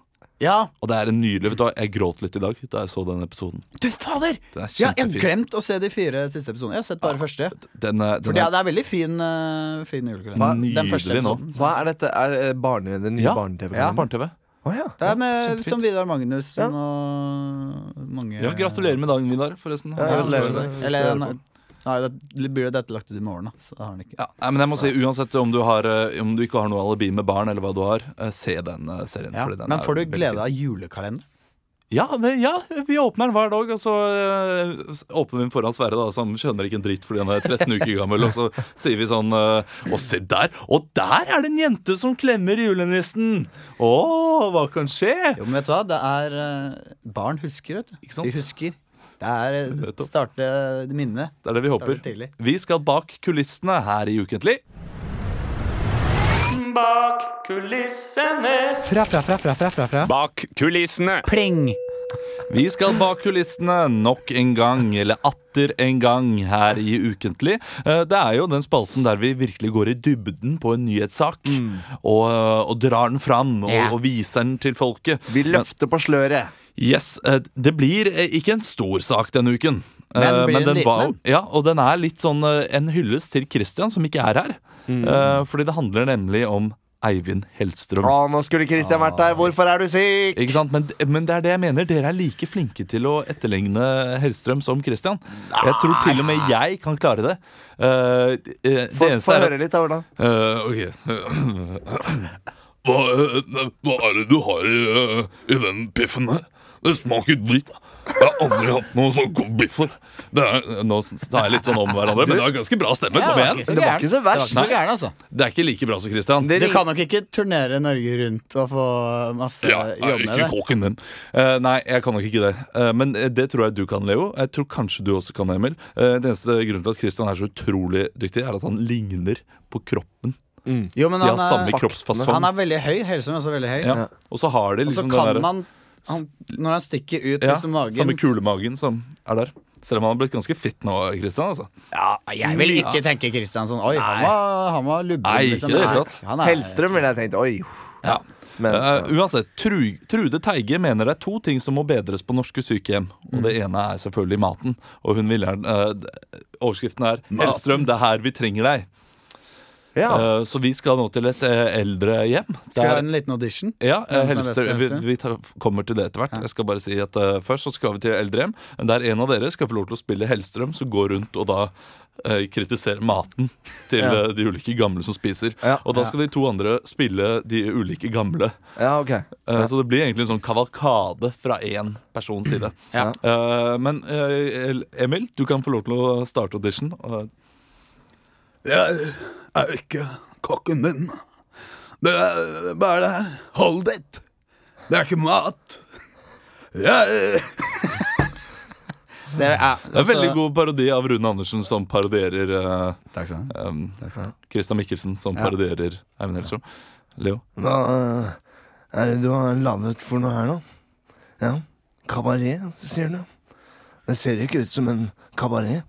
Speaker 3: Ja,
Speaker 1: Og det er en nydelig Vet du hva, jeg gråt litt i dag da jeg så den episoden.
Speaker 3: du fader!
Speaker 1: Den er
Speaker 3: Ja, jeg har
Speaker 1: kjempefin.
Speaker 3: glemt å se de fire siste episodene. Jeg har sett bare første.
Speaker 1: Den, er- den
Speaker 3: For det
Speaker 1: er-
Speaker 3: er, det er veldig fin, eh, fin julekalender. Den første
Speaker 1: Nydelig nå.
Speaker 3: episoden.
Speaker 2: Hva er dette? Er det barne, den nye
Speaker 1: Ja.
Speaker 2: barne-TV?
Speaker 1: Ja. Barne-TV.
Speaker 2: Å ja.
Speaker 3: Det er med
Speaker 1: kjempefint.
Speaker 3: som Vidar Magnussen
Speaker 2: Ja.
Speaker 3: og mange
Speaker 1: Ja, gratulerer med dagen, Vidar, forresten.
Speaker 2: Ja,
Speaker 3: Ja,
Speaker 2: gratulerer.
Speaker 3: gratulerer. Eller nei, nei, det blir jo dette lagt ut i morgen, da. Så det har han ikke.
Speaker 1: Ja, nei, men jeg må si, Uansett om du, har, eh, om du ikke har noe alibi med barn, eller hva du har, eh, se den eh, serien.
Speaker 3: Ja.
Speaker 1: fordi den
Speaker 3: Men
Speaker 1: er
Speaker 3: får du
Speaker 1: veldig fin.
Speaker 3: glede av julekalender?
Speaker 1: Ja, men, ja, vi åpner den hver dag, og så eh, s- åpner vi den foran Sverre, da, som skjønner ikke en dritt fordi han er 13 uker gammel. Og så sier vi sånn eh, Å, se der! Og der er det en jente som klemmer julenissen! Å, hva kan skje?
Speaker 3: Jo, men vet du hva? Det er eh, Barn husker, vet du.
Speaker 1: Ikke sant?
Speaker 3: De husker. Det er eh,
Speaker 1: Nettopp.
Speaker 3: starte minnet.
Speaker 1: Det er det vi
Speaker 3: Starter
Speaker 1: håper.
Speaker 3: tidlig.
Speaker 1: Vi skal bak kulissene her i Ukentlig.
Speaker 5: Bak kulissene.
Speaker 3: Fra, fra, fra, fra, fra, fra, fra.
Speaker 6: Bak kulissene.
Speaker 3: Pling!
Speaker 1: Vi skal bak kulissene nok en gang, eller atter en gang, her i Ukentlig. Eh, Det er jo den spalten der vi virkelig går i dybden på en nyhetssak.
Speaker 3: Mm.
Speaker 1: Og, eh, og drar den fram, og, og viser den til folket.
Speaker 2: Vi løfter på sløret.
Speaker 1: Yes, eh, Det blir eh, ikke en stor sak denne uken.
Speaker 3: Men
Speaker 1: Eh,
Speaker 3: blir det en
Speaker 1: den
Speaker 3: liten
Speaker 1: var-
Speaker 3: en?
Speaker 1: ja, og den
Speaker 3: Mm.
Speaker 1: er litt sånn eh, en hyllest til Christian, som ikke er her. Eh, Fordi det handler nemlig om Eivind Hellstrøm.
Speaker 2: Å, nå skulle Christian vært der! Hvorfor er du syk?
Speaker 1: Ikke sant? Men, men det er det jeg mener. Dere er like flinke til å etterligne Hellstrøm som Christian. Jeg tror til og med jeg kan klare det. Eh, eh, det
Speaker 2: Få
Speaker 1: eneste
Speaker 2: få
Speaker 1: er at
Speaker 2: høre litt, da, Ola.
Speaker 1: Eh, ok. [CLEARS THROAT] Hva, eh, hva er det du har i, eh, i den piffen her? Det smaker dritt. Jeg har aldri hatt noe sånn god biff for. Det er, nå sa jeg litt sånn om hverandre, men det er ganske bra stemme. Kom
Speaker 7: Ja,
Speaker 1: igjen.
Speaker 2: Det var ikke så verst.
Speaker 7: Det var ikke så gæren, altså.
Speaker 1: Det er ikke like bra som Christian.
Speaker 2: Det
Speaker 7: Du
Speaker 2: ring-
Speaker 7: kan nok ikke turnere Norge rundt og få masse
Speaker 1: Ja, jeg
Speaker 7: jobb
Speaker 1: er
Speaker 7: med
Speaker 1: ikke
Speaker 7: det.
Speaker 1: kåken din. Eh, nei, jeg kan nok ikke det. Eh, men eh, det tror jeg du kan, Leo. Jeg tror kanskje du også kan, Emil. Eh, det eneste grunnen til at Christian er så utrolig dyktig, er at han ligner på kroppen.
Speaker 7: Jo, men
Speaker 1: De
Speaker 7: han,
Speaker 1: har samme
Speaker 7: er, han
Speaker 1: kroppsfasong.
Speaker 7: er veldig høy. Helsen er også veldig høy.
Speaker 1: sånn- Ja. Og så har de
Speaker 7: Og så
Speaker 1: liksom den
Speaker 7: kan
Speaker 1: derre
Speaker 7: man han, Når han stikker ut
Speaker 1: Ja,
Speaker 7: liksom magen
Speaker 1: samme kulemagen som er der. Selv om han har blitt ganske fit nå, Kristian. Altså.
Speaker 7: Ja, Ah, jeg vil ikke tenke Kristian sånn Oi, han var, han var lubben. liksom.
Speaker 1: Nei, ikke det hele tatt.
Speaker 7: han er,
Speaker 2: Hellstrøm ville jeg tenkt. Oi. Men
Speaker 1: Eh, uansett, Tru, Trude Teige mener det er to ting som må bedres på norske sykehjem. Og
Speaker 7: Mm.
Speaker 1: det ene er selvfølgelig maten. Og hun ville eh, d- Overskriften er 'Hellstrøm, det er her vi trenger deg'.
Speaker 2: ja.
Speaker 1: Eh, så vi skal nå til et eh, eldrehjem.
Speaker 7: Skal vi ha
Speaker 1: Der-
Speaker 7: en liten audition?
Speaker 1: Ja, eh,
Speaker 7: Hvem som er best
Speaker 1: Hellstrøm,
Speaker 7: til
Speaker 1: vi,
Speaker 7: Hellstrøm?
Speaker 1: vi tar, kommer til det etter hvert. Jeg skal bare si at eh, Først så skal vi til eldrehjem, der en av dere skal få lov til å spille Hellstrøm, som går rundt og da eh, kritiserer maten til
Speaker 2: Ja.
Speaker 1: eh, de ulike gamle som spiser.
Speaker 2: Ja.
Speaker 1: Og da skal de to andre spille de ulike gamle.
Speaker 2: ja, ok.
Speaker 1: Eh, Så det blir egentlig en sånn kavalkade fra én persons side.
Speaker 7: [CLEARS THROAT] Ja.
Speaker 1: Eh, men eh, Emil, du kan få lov til å starte audition. og-
Speaker 3: Jeg er ikke kokken din. Det er bare det her. Hold it! Det er ikke mat. Jeg
Speaker 7: Det er,
Speaker 1: Det er en
Speaker 7: altså-
Speaker 1: veldig god parodi av Rune Andersen som parodierer eh,
Speaker 7: Takk skal du ha.
Speaker 1: Um, Christian Mikkelsen som parodierer Eivind Hellstrøm. Leo.
Speaker 2: Hva eh, er det du har landet for noe her, da? Ja, kabaret, sier du. Det ser ikke ut som en kabaret.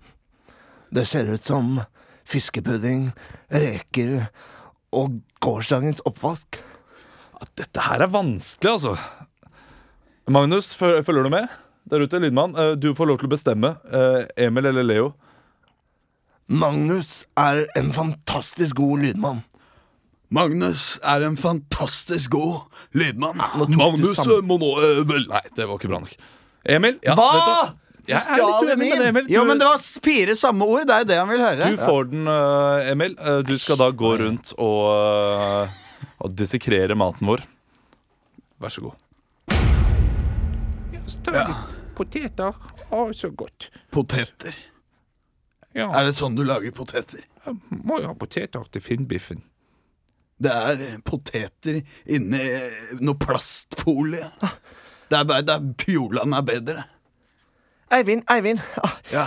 Speaker 2: Det ser ut som fiskepudding, reker og gårsdagens oppvask.
Speaker 1: Dette her er vanskelig, altså. Magnus, fø- følger du med? Der ute, lydmann, eh, du får lov til å bestemme. eh, Emil eller Leo?
Speaker 2: Magnus er en fantastisk god lydmann.
Speaker 3: Magnus er en fantastisk god lydmann.
Speaker 7: Ah,
Speaker 1: Magnus
Speaker 2: sammen.
Speaker 1: eh, må nå eh, vel Nei, det var ikke bra nok. Emil? Ja,
Speaker 7: Hva?
Speaker 1: vet du- Jeg er litt uenig med deg, Emil.
Speaker 7: Jo, men
Speaker 1: Du,
Speaker 7: det var fire samme ord. Det er jo det han vil høre.
Speaker 1: du får den, eh, Emil. Eh, Du skal da gå rundt og, eh, og dissekrere maten vår. Vær så god.
Speaker 8: Poteter. Å, så godt.
Speaker 3: Poteter.
Speaker 8: Ja,
Speaker 3: Er det sånn du lager poteter?
Speaker 8: må jo ha poteter til finnbiffen.
Speaker 3: Det er poteter inni noe plastfolie. Det er bare det er Fjordland er bedre.
Speaker 2: Eivind, Eivind. Ah,
Speaker 3: Ja.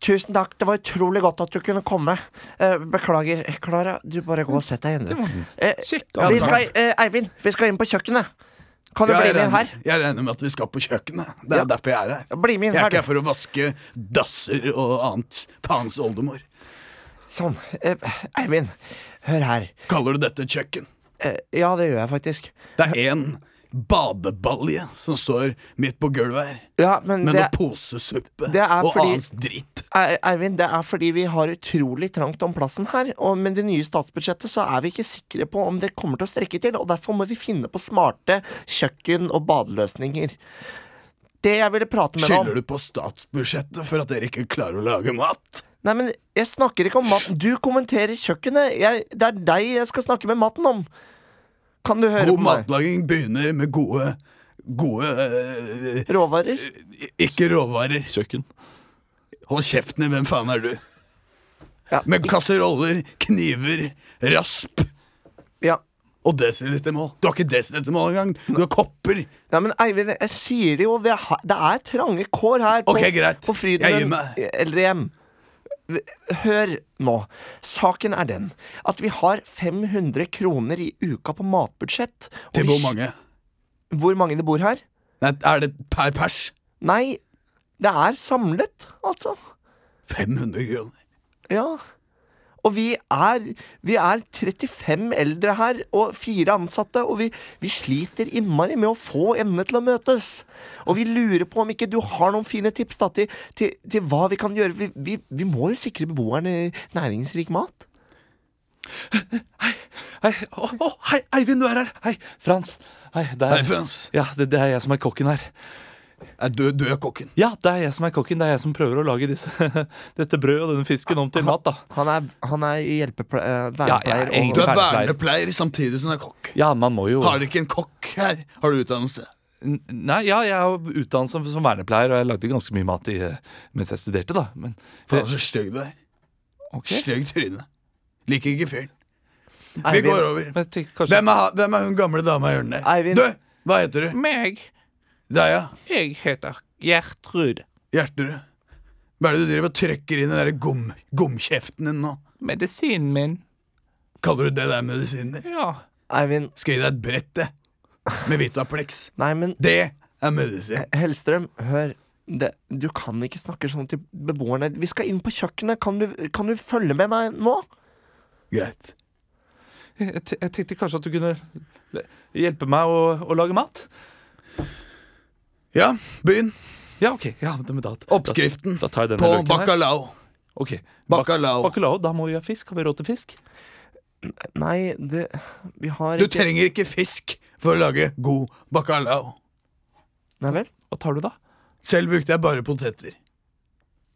Speaker 2: Tusen takk, det var utrolig godt at du kunne komme. Eh, Beklager, Klara. Du bare gå og sett deg inne. Eh,
Speaker 8: Kjekk
Speaker 2: Vi
Speaker 8: avtale.
Speaker 2: skal, eh, Eivind, vi skal inn på kjøkkenet. Kan du
Speaker 3: Jeg
Speaker 2: bli med inn
Speaker 3: regner,
Speaker 2: her?
Speaker 3: jeg regner med at vi skal på kjøkkenet. Det
Speaker 2: Ja.
Speaker 3: er derfor jeg er her.
Speaker 2: Bli med inn
Speaker 3: Jeg er
Speaker 2: her,
Speaker 3: ikke
Speaker 2: du.
Speaker 3: her for å vaske dasser og annet. Faens oldemor.
Speaker 2: Sånn. Eh, Eivind, hør her.
Speaker 3: Kaller du dette kjøkken?
Speaker 2: Eh, ja, det gjør jeg faktisk.
Speaker 3: Det er én badebalje som står midt på gulvet her,
Speaker 2: Ja, men
Speaker 3: med
Speaker 2: det,
Speaker 3: noe posesuppe
Speaker 2: det er
Speaker 3: og
Speaker 2: fordi-
Speaker 3: annen dritt.
Speaker 2: Ei- Eivind, det er fordi vi har utrolig trangt om plassen her. Og med det nye statsbudsjettet så er vi ikke sikre på om det kommer til å strekke til, og derfor må vi finne på smarte kjøkken- og badeløsninger. Det jeg ville prate med deg om
Speaker 3: Skylder du på statsbudsjettet for at dere ikke klarer å lage mat?
Speaker 2: Nei, men jeg snakker ikke om maten. Du kommenterer kjøkkenet. Jeg, det er deg jeg skal snakke med maten om. Kan du høre
Speaker 3: God
Speaker 2: på meg?
Speaker 3: matlaging begynner med gode Gode eh,
Speaker 2: Råvarer?
Speaker 3: Ikke råvarer.
Speaker 1: Kjøkken.
Speaker 3: Hold kjeften din, hvem faen er du?
Speaker 2: Ja.
Speaker 3: Med kasseroller, kniver, rasp
Speaker 2: Ja.
Speaker 3: og desilitermål. Du har ikke desilitermål engang. Du har kopper.
Speaker 2: Nei, men Eivind, jeg sier det jo. Vi har, det er trange kår her på,
Speaker 3: Ok, greit.
Speaker 2: på
Speaker 3: Jeg gir
Speaker 2: Frydenlund
Speaker 3: meg.
Speaker 2: eldrehjem. Hør nå. Saken er den at vi har 500 kroner i uka på matbudsjett. og
Speaker 3: Til
Speaker 2: vi
Speaker 3: hvor
Speaker 2: sk-
Speaker 3: mange?
Speaker 2: Hvor mange det bor her?
Speaker 3: Nei, er det per pers?
Speaker 2: Nei, det er samlet, altså.
Speaker 3: 500 kroner.
Speaker 2: Ja. Og vi er, vi er 35 eldre her, og fire ansatte, og vi, vi sliter innmari med å få endene til å møtes. Og vi lurer på om ikke du har noen fine tips da, til, til, til hva vi kan gjøre. Vi, vi, vi må jo sikre beboerne næringsrik mat.
Speaker 1: Hei, å, å, hei, Eivind, du er her! Hei, Frans. Hei, det er,
Speaker 3: Hei, Frans.
Speaker 1: Ja, det, det er jeg som er kokken her.
Speaker 3: Er du, du er kokken.
Speaker 1: Ja, det er jeg som er kokken. Det er jeg som prøver å lage disse, [LAUGHS] dette brødet og denne fisken om til mat, da.
Speaker 2: Han er, han er hjelpepleier,
Speaker 1: Ja,
Speaker 2: vernepleier
Speaker 1: jeg er
Speaker 3: Du
Speaker 1: egentlig-
Speaker 3: er
Speaker 1: Vernepleier.
Speaker 3: vernepleier samtidig som du er kokk.
Speaker 1: Ja, man må jo
Speaker 3: Har dere ikke en kokk her? Har du utdannelse?
Speaker 1: N- Nei, ja, jeg er jo utdannet som, som vernepleier, og jeg lagde ganske mye mat i, eh, mens jeg studerte, da. Men
Speaker 3: Faen, så stygg du er.
Speaker 1: Ok.
Speaker 3: Stygg tryne. Liker ikke fyren.
Speaker 2: og
Speaker 3: Vi
Speaker 2: Eivind,
Speaker 3: går over.
Speaker 1: Men jeg tenkte kanskje
Speaker 3: Hvem er, ha- hvem er hun gamle dama i hjørnet der?
Speaker 2: Eivind.
Speaker 3: Du! Hva heter du?
Speaker 9: Meg,
Speaker 3: Deia?
Speaker 9: jeg heter Gjertrud.
Speaker 3: Hjerterud? Hva er det du driver og trykker inn i den der gom, gomkjeften din nå?
Speaker 9: Medisinen min.
Speaker 3: Kaller du det der medisiner?
Speaker 9: Ja.
Speaker 2: Eivind
Speaker 3: Skal gi deg et brett, det. Med Vitaplex.
Speaker 2: Nei, men
Speaker 3: Det er medisin.
Speaker 2: Hellstrøm, hør. Det, du kan ikke snakke sånn til beboerne. Vi skal inn på kjøkkenet. Kan du, kan du følge med meg nå?
Speaker 3: Greit.
Speaker 1: jeg, te- jeg tenkte kanskje at du kunne le- hjelpe meg å, å lage mat?
Speaker 3: Ja, begynn.
Speaker 1: Ja, OK. Ja, men da, da,
Speaker 3: Oppskriften
Speaker 1: da tar jeg denne
Speaker 3: på
Speaker 1: løken her.
Speaker 3: bacalao.
Speaker 1: Ok, bak-
Speaker 3: Bacalao.
Speaker 1: Bacalao, da må vi ha fisk. Har vi råd til fisk?
Speaker 2: Nei, det Vi har
Speaker 3: Du
Speaker 2: ikke
Speaker 3: trenger ikke fisk for å lage god bacalao.
Speaker 2: Nei vel?
Speaker 1: Hva tar du, da?
Speaker 3: Selv brukte jeg bare poteter.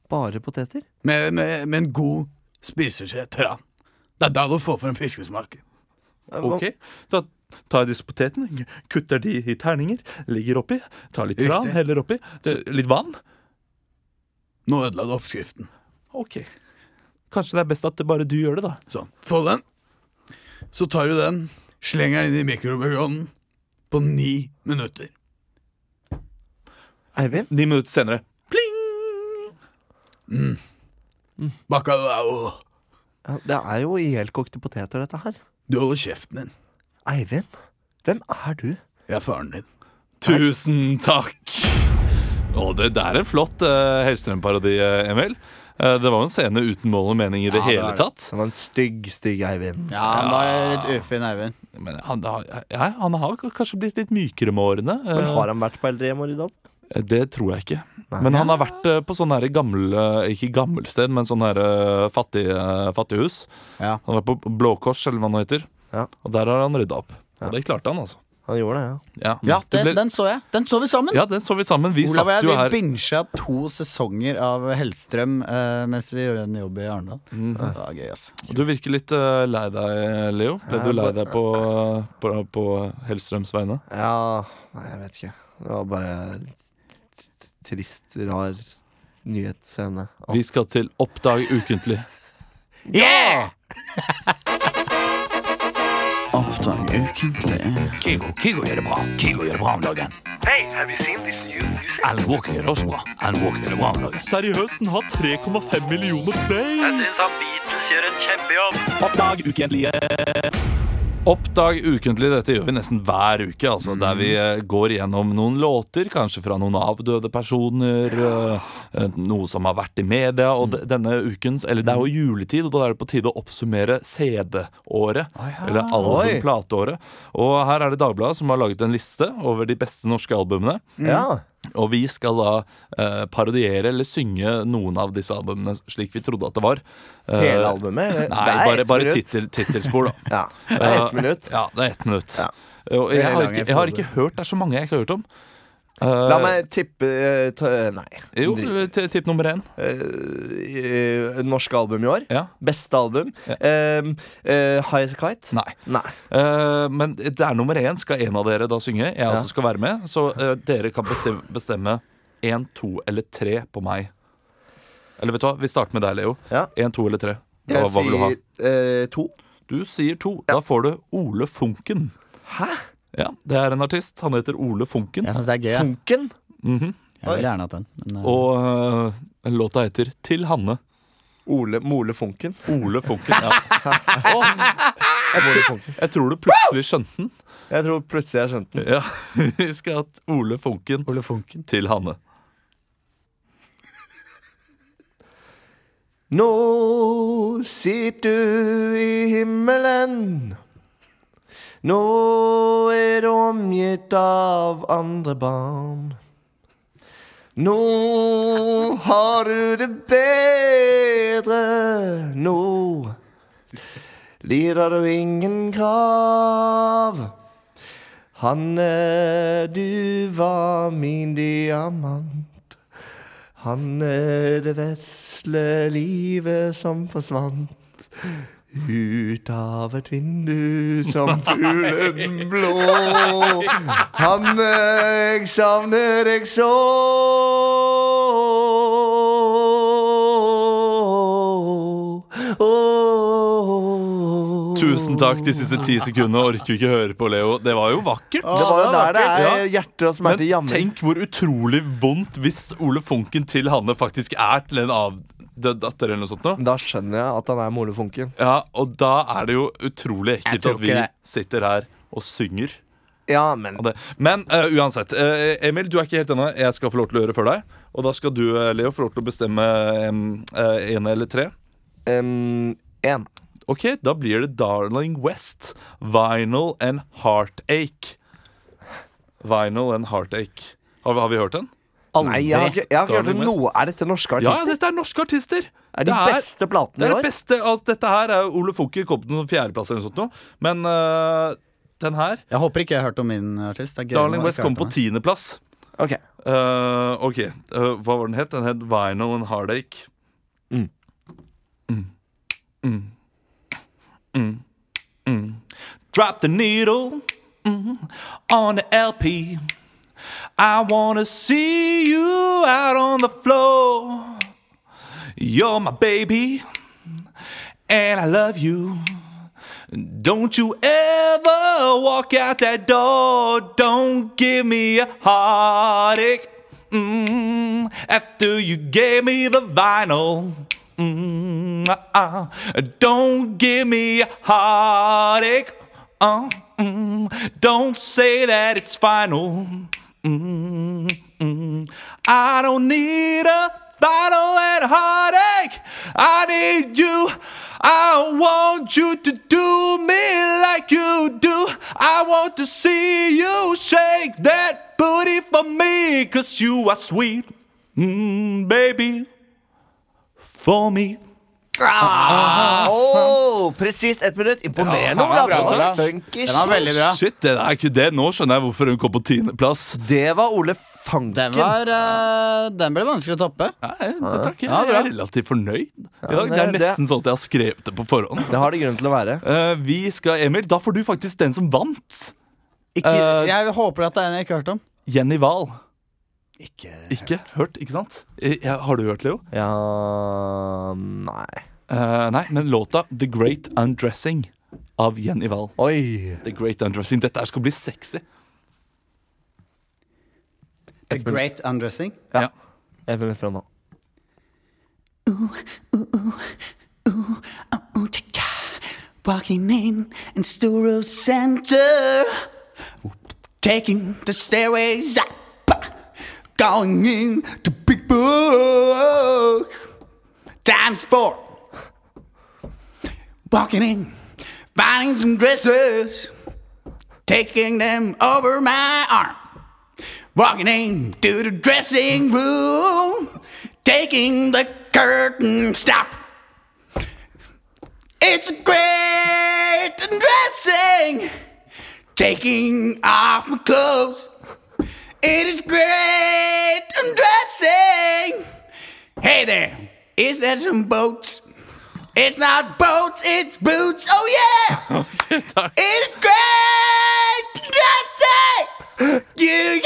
Speaker 2: Bare poteter?
Speaker 3: Med, med, med en god spiseskje tran. Det er da du får frem fiskesmaken.
Speaker 2: Eh,
Speaker 1: Ok, Da tar jeg disse potetene, g- kutter de i terninger, legger oppi, tar litt
Speaker 3: Riktig.
Speaker 1: tran, heller oppi, det- litt vann.
Speaker 3: Nå ødela du oppskriften.
Speaker 1: Ok. Kanskje det er best at det bare du gjør det, da.
Speaker 3: Sånn. Få den. Så tar du den, slenger den inn i mikrobølgeovnen på ni minutter.
Speaker 2: Eivind?
Speaker 1: Ni minutter senere.
Speaker 3: Bacalao.
Speaker 2: Ja, det er jo ihjelkokte poteter, dette her.
Speaker 3: Du holder kjeften din.
Speaker 2: Eivind? Hvem er du?
Speaker 3: Jeg er faren din.
Speaker 1: Tusen takk! Å, det der er en flott uh, Hellstrøm-parodi, eh, Emil. Eh, det var jo en scene uten mål og mening i det,
Speaker 10: det
Speaker 1: hele
Speaker 10: var det.
Speaker 1: tatt.
Speaker 2: Han var en stygg, stygg Eivind.
Speaker 10: Ja, han var litt ufin, Eivind.
Speaker 1: Men han, har- ja, han har k- kanskje blitt litt mykere med årene. eh,
Speaker 2: Men har han vært på Eldremo i dag?
Speaker 1: Det tror jeg ikke. Men han har vært eh, på sånn her gammel eh, Ikke gammel sted, men sånn her eh, fattig, eh, fattighus.
Speaker 10: Ja.
Speaker 1: Han har vært på Blå Kors, eller hva det heter.
Speaker 2: Ja.
Speaker 1: Og der har han rydda opp. Og det klarte han, altså.
Speaker 2: Han gjorde det, ja.
Speaker 1: Ja,
Speaker 10: Ja,
Speaker 1: Du
Speaker 10: det,
Speaker 1: ble-
Speaker 10: den så jeg. Den så vi sammen.
Speaker 1: ja den så vi sammen. Vi
Speaker 10: Olav og
Speaker 1: satt
Speaker 10: jeg
Speaker 1: jo
Speaker 10: vi
Speaker 1: her
Speaker 10: binsja to sesonger av Hellstrøm eh, mens vi gjorde en jobb i Arendal.
Speaker 1: Mhm.
Speaker 10: Det var gøy, altså.
Speaker 1: Du virker litt eh, lei deg, Leo. Ble du
Speaker 2: Jeg
Speaker 1: lei
Speaker 2: bare-
Speaker 1: deg på, på, på Hellstrøms vegne?
Speaker 2: Ja, nei, jeg vet ikke. Det var bare t- t- trist, rar nyhetsscene. Alt.
Speaker 1: Vi skal til Oppdag ukentlig.
Speaker 11: Kigo, Kigo gjør det bra. Kigo gjør det bra om dagen. Alan Walker gjør det også bra. Alan Walker gjør det bra om dagen.
Speaker 1: Seriøst, den har 3,5 millioner plays! Jeg syns at Beatles gjør en kjempejobb. Oppdag ukentlige. Oppdag ukentlig, dette gjør vi nesten hver uke. Altså, Der vi
Speaker 2: Mm.
Speaker 1: eh, går gjennom noen låter, kanskje fra noen avdøde personer. eh, eh, Noe som har vært i media.
Speaker 2: Mm.
Speaker 1: Og de- denne ukens, eller Det er jo juletid, og da er det på tide å oppsummere CD-året. Eller
Speaker 2: Oi.
Speaker 1: album-plateåret. Og her er det Dagbladet som har laget en liste over de beste norske albumene.
Speaker 2: Ja.
Speaker 1: Og vi skal da eh, parodiere eller synge noen av disse albumene slik vi trodde at det var. Eh,
Speaker 2: Hele albumet?
Speaker 1: Nei,
Speaker 2: eller? Det er
Speaker 1: bare,
Speaker 2: ett
Speaker 1: bare
Speaker 2: minutt.
Speaker 1: tittel, tittelspor, da.
Speaker 2: Ja, det er ett
Speaker 1: Eh, [LAUGHS]
Speaker 2: minutt.
Speaker 1: Ja, det er ett minutt.
Speaker 2: Ja.
Speaker 1: Og jeg,
Speaker 10: Veldig
Speaker 1: har
Speaker 10: lang
Speaker 1: ikke, jeg har
Speaker 10: episode.
Speaker 1: ikke hørt Det er så mange jeg ikke har hørt om.
Speaker 2: La meg tippe eh, ta, Nei.
Speaker 1: Jo,
Speaker 2: Drit.
Speaker 1: t- tipp nummer én.
Speaker 2: Eh, eh, norsk album i år.
Speaker 1: Ja.
Speaker 2: Beste album. Eh, eh, High as a Kite.
Speaker 1: Nei.
Speaker 2: Nei.
Speaker 1: Eh, men det er nummer én. Skal en av dere da synge? Jeg også skal være med. Så eh, dere kan bestemme, bestemme én, to eller tre på meg. Eller vet du hva, vi starter med deg, Leo.
Speaker 2: Ja.
Speaker 1: Én, to eller tre. Hva,
Speaker 2: Jeg
Speaker 1: hva vil du ha?
Speaker 2: sier eh, to.
Speaker 1: Du sier to. Da får du Ole Funken.
Speaker 2: Hæ?
Speaker 1: Ja, Det er en artist. Han heter Ole Funken.
Speaker 10: Jeg syns det er gøy. Jeg,
Speaker 2: Funken?
Speaker 10: jeg vil gjerne hatt den. Men, eh,
Speaker 1: Og øh, låta heter Til Hanne.
Speaker 2: Ole Mole Funken.
Speaker 1: Ole Funken. [LAUGHS] Ja. Og
Speaker 2: Mole Funken.
Speaker 1: jeg tror du plutselig skjønte den.
Speaker 2: Jeg tror plutselig jeg skjønte den.
Speaker 1: Ja, [LAUGHS] Vi skal ha Ole Funken
Speaker 10: Ole Funken.
Speaker 1: til Hanne.
Speaker 2: Nå sitter du i himmelen. Nå er du omgitt av andre barn. Nå har du det bedre. Nå lider du ingen krav. Hanne, eh, du var min diamant. Hanne, det vesle livet som forsvant. Ut av et vindu
Speaker 1: [LAUGHS]
Speaker 2: som fuglen blå. Hanne, jeg savner deg så.
Speaker 1: Tusen takk. De siste ti sekundene orker vi ikke høre på, Leo. Det var jo vakkert.
Speaker 2: Det var jo der det er hjerter og
Speaker 1: Men
Speaker 2: smerte jammer.
Speaker 1: tenk hvor utrolig vondt hvis Ole Funken til Hanne faktisk er til en avdød datter eller noe sånt. nå.
Speaker 2: Da skjønner jeg at han er molefunken.
Speaker 1: Ja, og da er det jo utrolig
Speaker 3: Jeg
Speaker 1: ekkelt
Speaker 3: tror
Speaker 1: at vi
Speaker 3: ikke det.
Speaker 1: sitter her og synger.
Speaker 2: Ja, men
Speaker 1: av det. Men eh, uansett. eh, Emil, du er ikke helt ennå. Jeg skal få lov til å gjøre det før deg. Og da skal du, eh, Leo, få lov til å bestemme én eller tre.
Speaker 2: em, ehm, en.
Speaker 1: Ok, da blir det Darling West, Vinyl and Heartache. Vinyl and Heartache. Har, vi- har vi hørt den?
Speaker 2: Nei, jeg har ikke, jeg har ikke hørt
Speaker 1: Darling
Speaker 2: om
Speaker 1: West.
Speaker 2: noe. Er dette norske
Speaker 1: Ja, ja,
Speaker 2: artister?
Speaker 1: dette er norske artister.
Speaker 2: er de beste
Speaker 1: Det
Speaker 2: platene
Speaker 1: er
Speaker 2: i
Speaker 1: det
Speaker 2: år?
Speaker 1: beste, altså Dette her er jo Ole Fokker kom på noen fjerdeplass eller noe sånt nå. Men øh, den her,
Speaker 5: Jeg håper ikke jeg har hørt om min artist. Det er gøy
Speaker 1: Darling
Speaker 5: om jeg
Speaker 1: West,
Speaker 5: ikke
Speaker 1: kom
Speaker 5: har hørt
Speaker 1: på
Speaker 5: om
Speaker 1: tiendeplass.
Speaker 2: Ok,
Speaker 1: Eh, ok, eh, hva var den het? Den het Vinyl and Heartache.
Speaker 2: Mm.
Speaker 1: Mm. Mm. Mm. Drop the needle mm, on the LP. I wanna see you out on the floor. You're my baby, and I love you. Don't you ever walk out that door. Don't give me a heartache. Mm, after you gave me the vinyl. Mm, uh, uh, don't give me a heartache. Uh, mm, don't say that it's final. Mm, mm. I don't need a vinyl and heartache. I need you. I want you to do me like you do. I want to see you shake that booty for me. Cause you are sweet, mm, baby, for me.
Speaker 2: Åh, Presist ett minutt. Imponerende,
Speaker 5: Ja,
Speaker 2: Olav.
Speaker 5: det var bra, Olav.
Speaker 2: Funky
Speaker 5: Den var
Speaker 2: shit.
Speaker 5: veldig bra.
Speaker 1: Shit, det er ikke det. Nå skjønner jeg hvorfor hun kom på tiendeplass.
Speaker 2: Det var Ole Fanken.
Speaker 5: Den, var, eh, den ble vanskelig å toppe.
Speaker 1: Nei, det takk.
Speaker 5: Ja,
Speaker 1: Jeg
Speaker 5: bra.
Speaker 1: er relativt fornøyd. I dag. Det
Speaker 2: det-
Speaker 1: er nesten sånn at jeg har skrevet det på forhånd.
Speaker 2: Det har det grunn til å være.
Speaker 1: Eh, vi skal, Emil, da får du faktisk den som vant.
Speaker 5: Ikke,
Speaker 1: Eh,
Speaker 5: jeg håper at det er en jeg ikke har hørt om.
Speaker 1: Jenny Wahl. Ikke hørt, ikke sant? Eh, ja, har du hørt, Leo?
Speaker 2: Ja Nei.
Speaker 1: Eh, nei, men låta The Great Undressing av Jenny Wahl.
Speaker 2: Oi.
Speaker 1: The Great Undressing. Dette her skal bli sexy.
Speaker 5: The Great Undressing.
Speaker 1: Ja.
Speaker 2: Ett minutt fra nå.
Speaker 5: Walking in in Sturo Center. Taking the stairways up. Going in to Big Book. Times four. Walking in, finding some dresses. Taking them over my arm. Walking in to the dressing room. Taking the curtain stop. It's great undressing, taking off my clothes. It is great undressing. Hey there, is that some boats? It's not boats, it's boots. Oh yeah! It's great undressing. You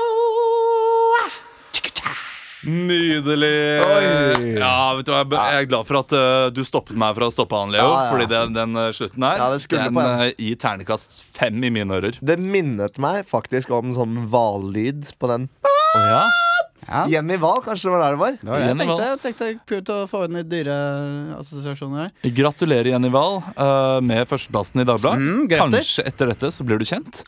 Speaker 5: got.
Speaker 1: Nydelig! Ja, vet du hva, jeg be- Jeg er glad for at eh, du stoppet meg fra å stoppe han, Leo.
Speaker 2: Ja, ja.
Speaker 1: Fordi den, den eh, slutten her
Speaker 2: Ja, det skulle
Speaker 1: den
Speaker 2: på en.
Speaker 1: eh, gir ternekast fem i mine ører.
Speaker 2: Det minnet meg faktisk om sånn hvallyd på den.
Speaker 1: Oh, ja.
Speaker 2: Jenny Wahl, kanskje det var der det var?
Speaker 5: Det var det jeg
Speaker 1: Igjen,
Speaker 5: tenkte.
Speaker 1: hva?
Speaker 5: Jeg tenkte Kult å få inn litt dyreassosiasjoner her.
Speaker 1: Gratulerer, Jenny Wahl, eh, med førsteplassen i Dagbladet.
Speaker 5: Mm, grattis.
Speaker 1: Kanskje etter dette så blir du kjent.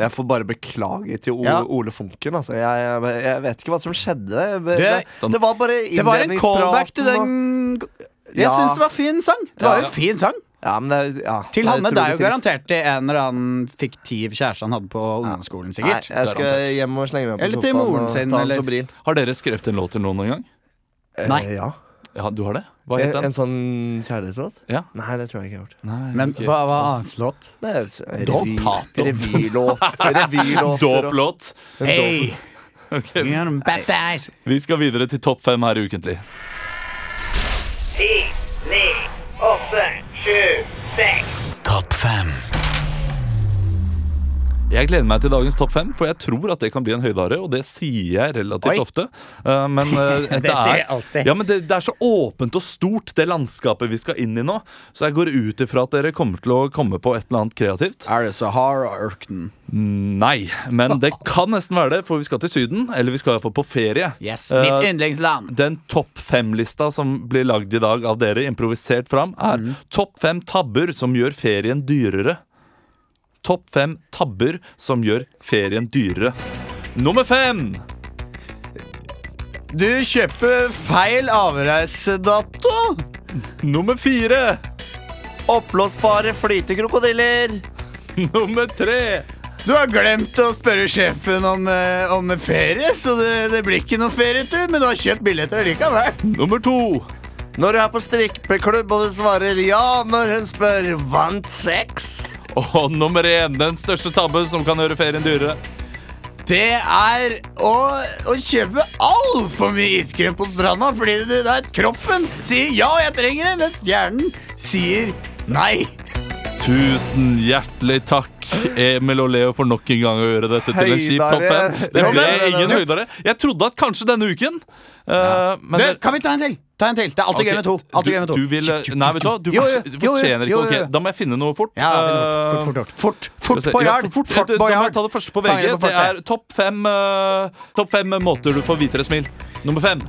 Speaker 2: Jeg får bare beklage til Ole,
Speaker 5: Ja.
Speaker 2: Ole Funken. Altså. Jeg, jeg, jeg vet ikke hva som skjedde. Det, det,
Speaker 5: Det-
Speaker 2: det var bare
Speaker 5: Det var en callback til den
Speaker 2: innledningspraten og-
Speaker 5: Jeg
Speaker 2: Ja.
Speaker 5: syns det var fin sang. Det var
Speaker 2: Ja.
Speaker 5: jo en fin sang
Speaker 2: ja, men det, ja,
Speaker 5: Til
Speaker 2: det
Speaker 5: Hanne.
Speaker 2: utrolig
Speaker 5: Det er jo
Speaker 2: trist.
Speaker 5: garantert til en eller annen fiktiv kjæreste han hadde på ungdomsskolen,
Speaker 2: Nei,
Speaker 5: sikkert.
Speaker 2: jeg skal
Speaker 5: Garantert.
Speaker 2: hjem og slenge meg på
Speaker 5: Eller til
Speaker 2: sofaen
Speaker 5: moren
Speaker 2: og
Speaker 5: sin,
Speaker 2: ta en
Speaker 5: eller-
Speaker 2: Sobril.
Speaker 1: Har dere skrevet en låt til noen noen gang?
Speaker 2: Eh,
Speaker 5: Nei.
Speaker 2: ja.
Speaker 1: Ja, du har det? Hva
Speaker 2: En,
Speaker 1: het den?
Speaker 2: en sånn kjærlighetslåt?
Speaker 1: Ja.
Speaker 2: Nei, det tror jeg ikke jeg har gjort.
Speaker 5: Men
Speaker 1: ok.
Speaker 5: hva var annet låt?
Speaker 2: Nei, altså,
Speaker 1: Dåp,
Speaker 2: revy-
Speaker 1: ta- dåp.
Speaker 2: Revylåt.
Speaker 5: [LAUGHS]
Speaker 2: Revylåter og-
Speaker 1: Dåplåt.
Speaker 5: Hey!
Speaker 1: Ok.
Speaker 5: You're bad guys.
Speaker 1: Vi skal videre til topp fem her i Ukentlig.
Speaker 12: ti, ni, åtte, sju, seks.
Speaker 13: Topp fem.
Speaker 1: Jeg gleder meg til dagens topp fem, for jeg tror at det kan bli en høydare. Og det sier jeg relativt ofte. Eh, Men eh, dette
Speaker 5: [LAUGHS] Det sier jeg
Speaker 1: er-
Speaker 5: alltid.
Speaker 1: Ja, men det, det er så åpent og stort, det landskapet vi skal inn i nå. Så jeg går ut ifra at dere kommer til å komme på et eller annet kreativt.
Speaker 3: Er det Sahara-ørkenen?
Speaker 1: Nei, men det kan nesten være det, for vi skal til Syden. Eller vi skal iallfall på ferie.
Speaker 5: Yes,
Speaker 1: Eh,
Speaker 5: mitt yndlingsland.
Speaker 1: den topp fem-lista som blir lagd i dag av dere, improvisert fram, er
Speaker 2: Mm.
Speaker 1: topp fem tabber som gjør ferien dyrere. Topp fem tabber som gjør ferien dyrere. Nummer fem!
Speaker 3: Du kjøper feil avreisedato!
Speaker 1: Nummer fire! [LAUGHS]
Speaker 2: Oppblåsbare flytekrokodiller.
Speaker 1: Nummer tre!
Speaker 3: Du har glemt å spørre sjefen om, eh, om ferie, så det, det blir ikke noe ferietur. Men du har kjøpt billetter likevel.
Speaker 1: Nummer to!
Speaker 2: Når du er på strikkeklubb og du svarer ja når hun spør 'vant sex'?
Speaker 1: Og nummer én, den største tabbe som kan gjøre ferien dyrere.
Speaker 3: Det er å, å kjøpe altfor mye iskrem på stranda fordi du, det er kroppen sier ja, jeg trenger det, mens hjernen sier nei.
Speaker 1: Tusen hjertelig takk, Emil og Leo, for nok en gang å gjøre dette til en kjip topp fem.
Speaker 2: Høydare.
Speaker 1: Det
Speaker 2: Ja,
Speaker 1: ble
Speaker 2: men-
Speaker 1: ingen høydere. Jeg trodde at kanskje denne uken eh, men
Speaker 3: Du,
Speaker 1: det-
Speaker 3: kan vi ta en til? Ta en til. Det er alltid
Speaker 1: Ok,
Speaker 3: gøy med to.
Speaker 1: du-
Speaker 3: Alltid gøy med to.
Speaker 1: Du vil, nei, vet du hva? Du,
Speaker 3: Jo, jo,
Speaker 1: fortjener- du
Speaker 3: jo, jo,
Speaker 1: fortjener ikke
Speaker 3: jo, jo, jo.
Speaker 1: ok. Da må jeg finne noe fort.
Speaker 3: Ja,
Speaker 1: Eh,
Speaker 3: fort, fort, fort, fort, fort,
Speaker 1: skal vi
Speaker 3: fort
Speaker 1: se. Ja,
Speaker 3: Boyard.
Speaker 1: fort,
Speaker 3: Fort
Speaker 1: Da må jeg
Speaker 3: Boyard.
Speaker 1: ta det første på
Speaker 3: Fanger
Speaker 1: VG.
Speaker 3: på
Speaker 1: Det
Speaker 3: fartet.
Speaker 1: er topp fem, eh, topp fem måter du får hvitere smil. Nummer fem.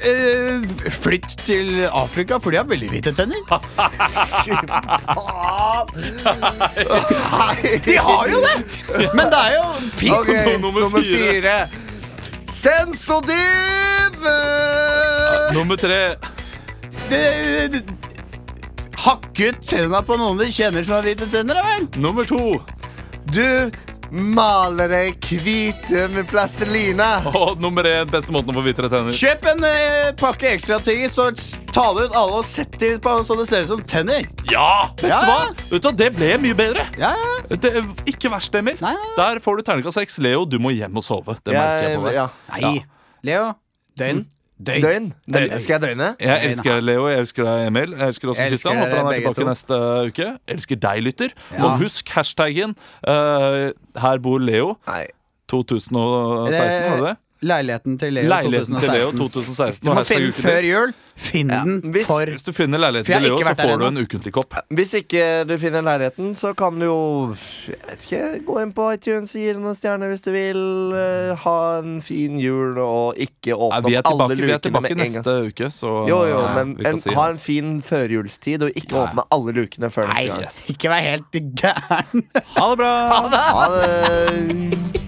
Speaker 3: Eh, flytt til Afrika, for de har veldig hvite
Speaker 1: [LAUGHS]
Speaker 3: tenner. Nei, de har jo det! Men det er jo fint.
Speaker 2: Ok,
Speaker 1: Nummer
Speaker 2: nummer
Speaker 1: fire.
Speaker 2: fire. Sensodyne!
Speaker 1: Nummer tre.
Speaker 3: Det- det- Hakke ut tenna på noen du kjenner som har hvite tenner, da vel?
Speaker 1: Nummer to.
Speaker 2: Du maler deg hvite med plastelina.
Speaker 1: Og nummer én. Beste måten å få hvitere tenner.
Speaker 3: Kjøp en eh, pakke ekstra ting, så s- ta det ut alle og sett det på så det ser ut som tenner.
Speaker 1: Ja! Vet du
Speaker 3: Ja, ja.
Speaker 1: hva? Vet du, hva? det ble mye bedre.
Speaker 3: Ja, ja.
Speaker 1: Det, er ikke verst, Emil.
Speaker 3: Nei, nei,
Speaker 1: Der får du terningkast seks. Leo, du må hjem og sove. Det merker jeg på deg.
Speaker 2: ja.
Speaker 3: Nei. Leo. Døgn. Døgn.
Speaker 2: Døgn. Døgn. Skal jeg døgne?
Speaker 1: Jeg elsker deg, Leo. Jeg elsker deg, Emil. Jeg elsker også
Speaker 3: Jeg elsker
Speaker 1: Kristian. Håper
Speaker 3: dere
Speaker 1: han er
Speaker 3: begge
Speaker 1: tilbake
Speaker 3: to.
Speaker 1: neste uke. Jeg elsker deg, lytter. Og husk hashtaggen eh, 'Her bor Leo
Speaker 2: Nei.
Speaker 1: 2016'. Var det det?
Speaker 3: Leiligheten til Eh, Leo
Speaker 1: Leiligheten
Speaker 3: 2016.
Speaker 1: til Leo 2016.
Speaker 3: Du
Speaker 1: og
Speaker 3: må
Speaker 1: hashtag
Speaker 3: finne den
Speaker 1: ukentlig.
Speaker 3: før jul. Finn den
Speaker 2: Hvis-
Speaker 3: for
Speaker 1: Hvis du finner leiligheten
Speaker 3: For jeg
Speaker 1: til Leo,
Speaker 3: har ikke
Speaker 1: så
Speaker 3: vært der
Speaker 1: får du en
Speaker 3: ennå.
Speaker 1: ukentlig kopp.
Speaker 2: Hvis ikke du finner leiligheten, så kan du jo jeg vet ikke, gå inn på iTunes og gi det noen stjerner hvis du vil. eh, Ha en fin jul og ikke
Speaker 1: Nei,
Speaker 2: åpne
Speaker 1: vi er
Speaker 2: opp alle
Speaker 1: tilbake, vi er
Speaker 2: lukene
Speaker 1: tilbake
Speaker 2: med en gang.
Speaker 1: neste uke, så
Speaker 2: Jo, jo,
Speaker 1: eh,
Speaker 2: men
Speaker 1: vi
Speaker 2: en,
Speaker 1: kan si
Speaker 2: ha en fin førjulstid og ikke åpne alle lukene før neste gang.
Speaker 3: Ikke vær helt gæren.
Speaker 1: Ha det bra!
Speaker 2: Ha det!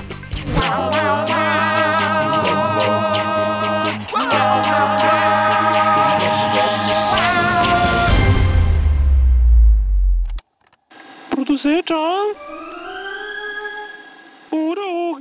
Speaker 14: Produsert av Ore og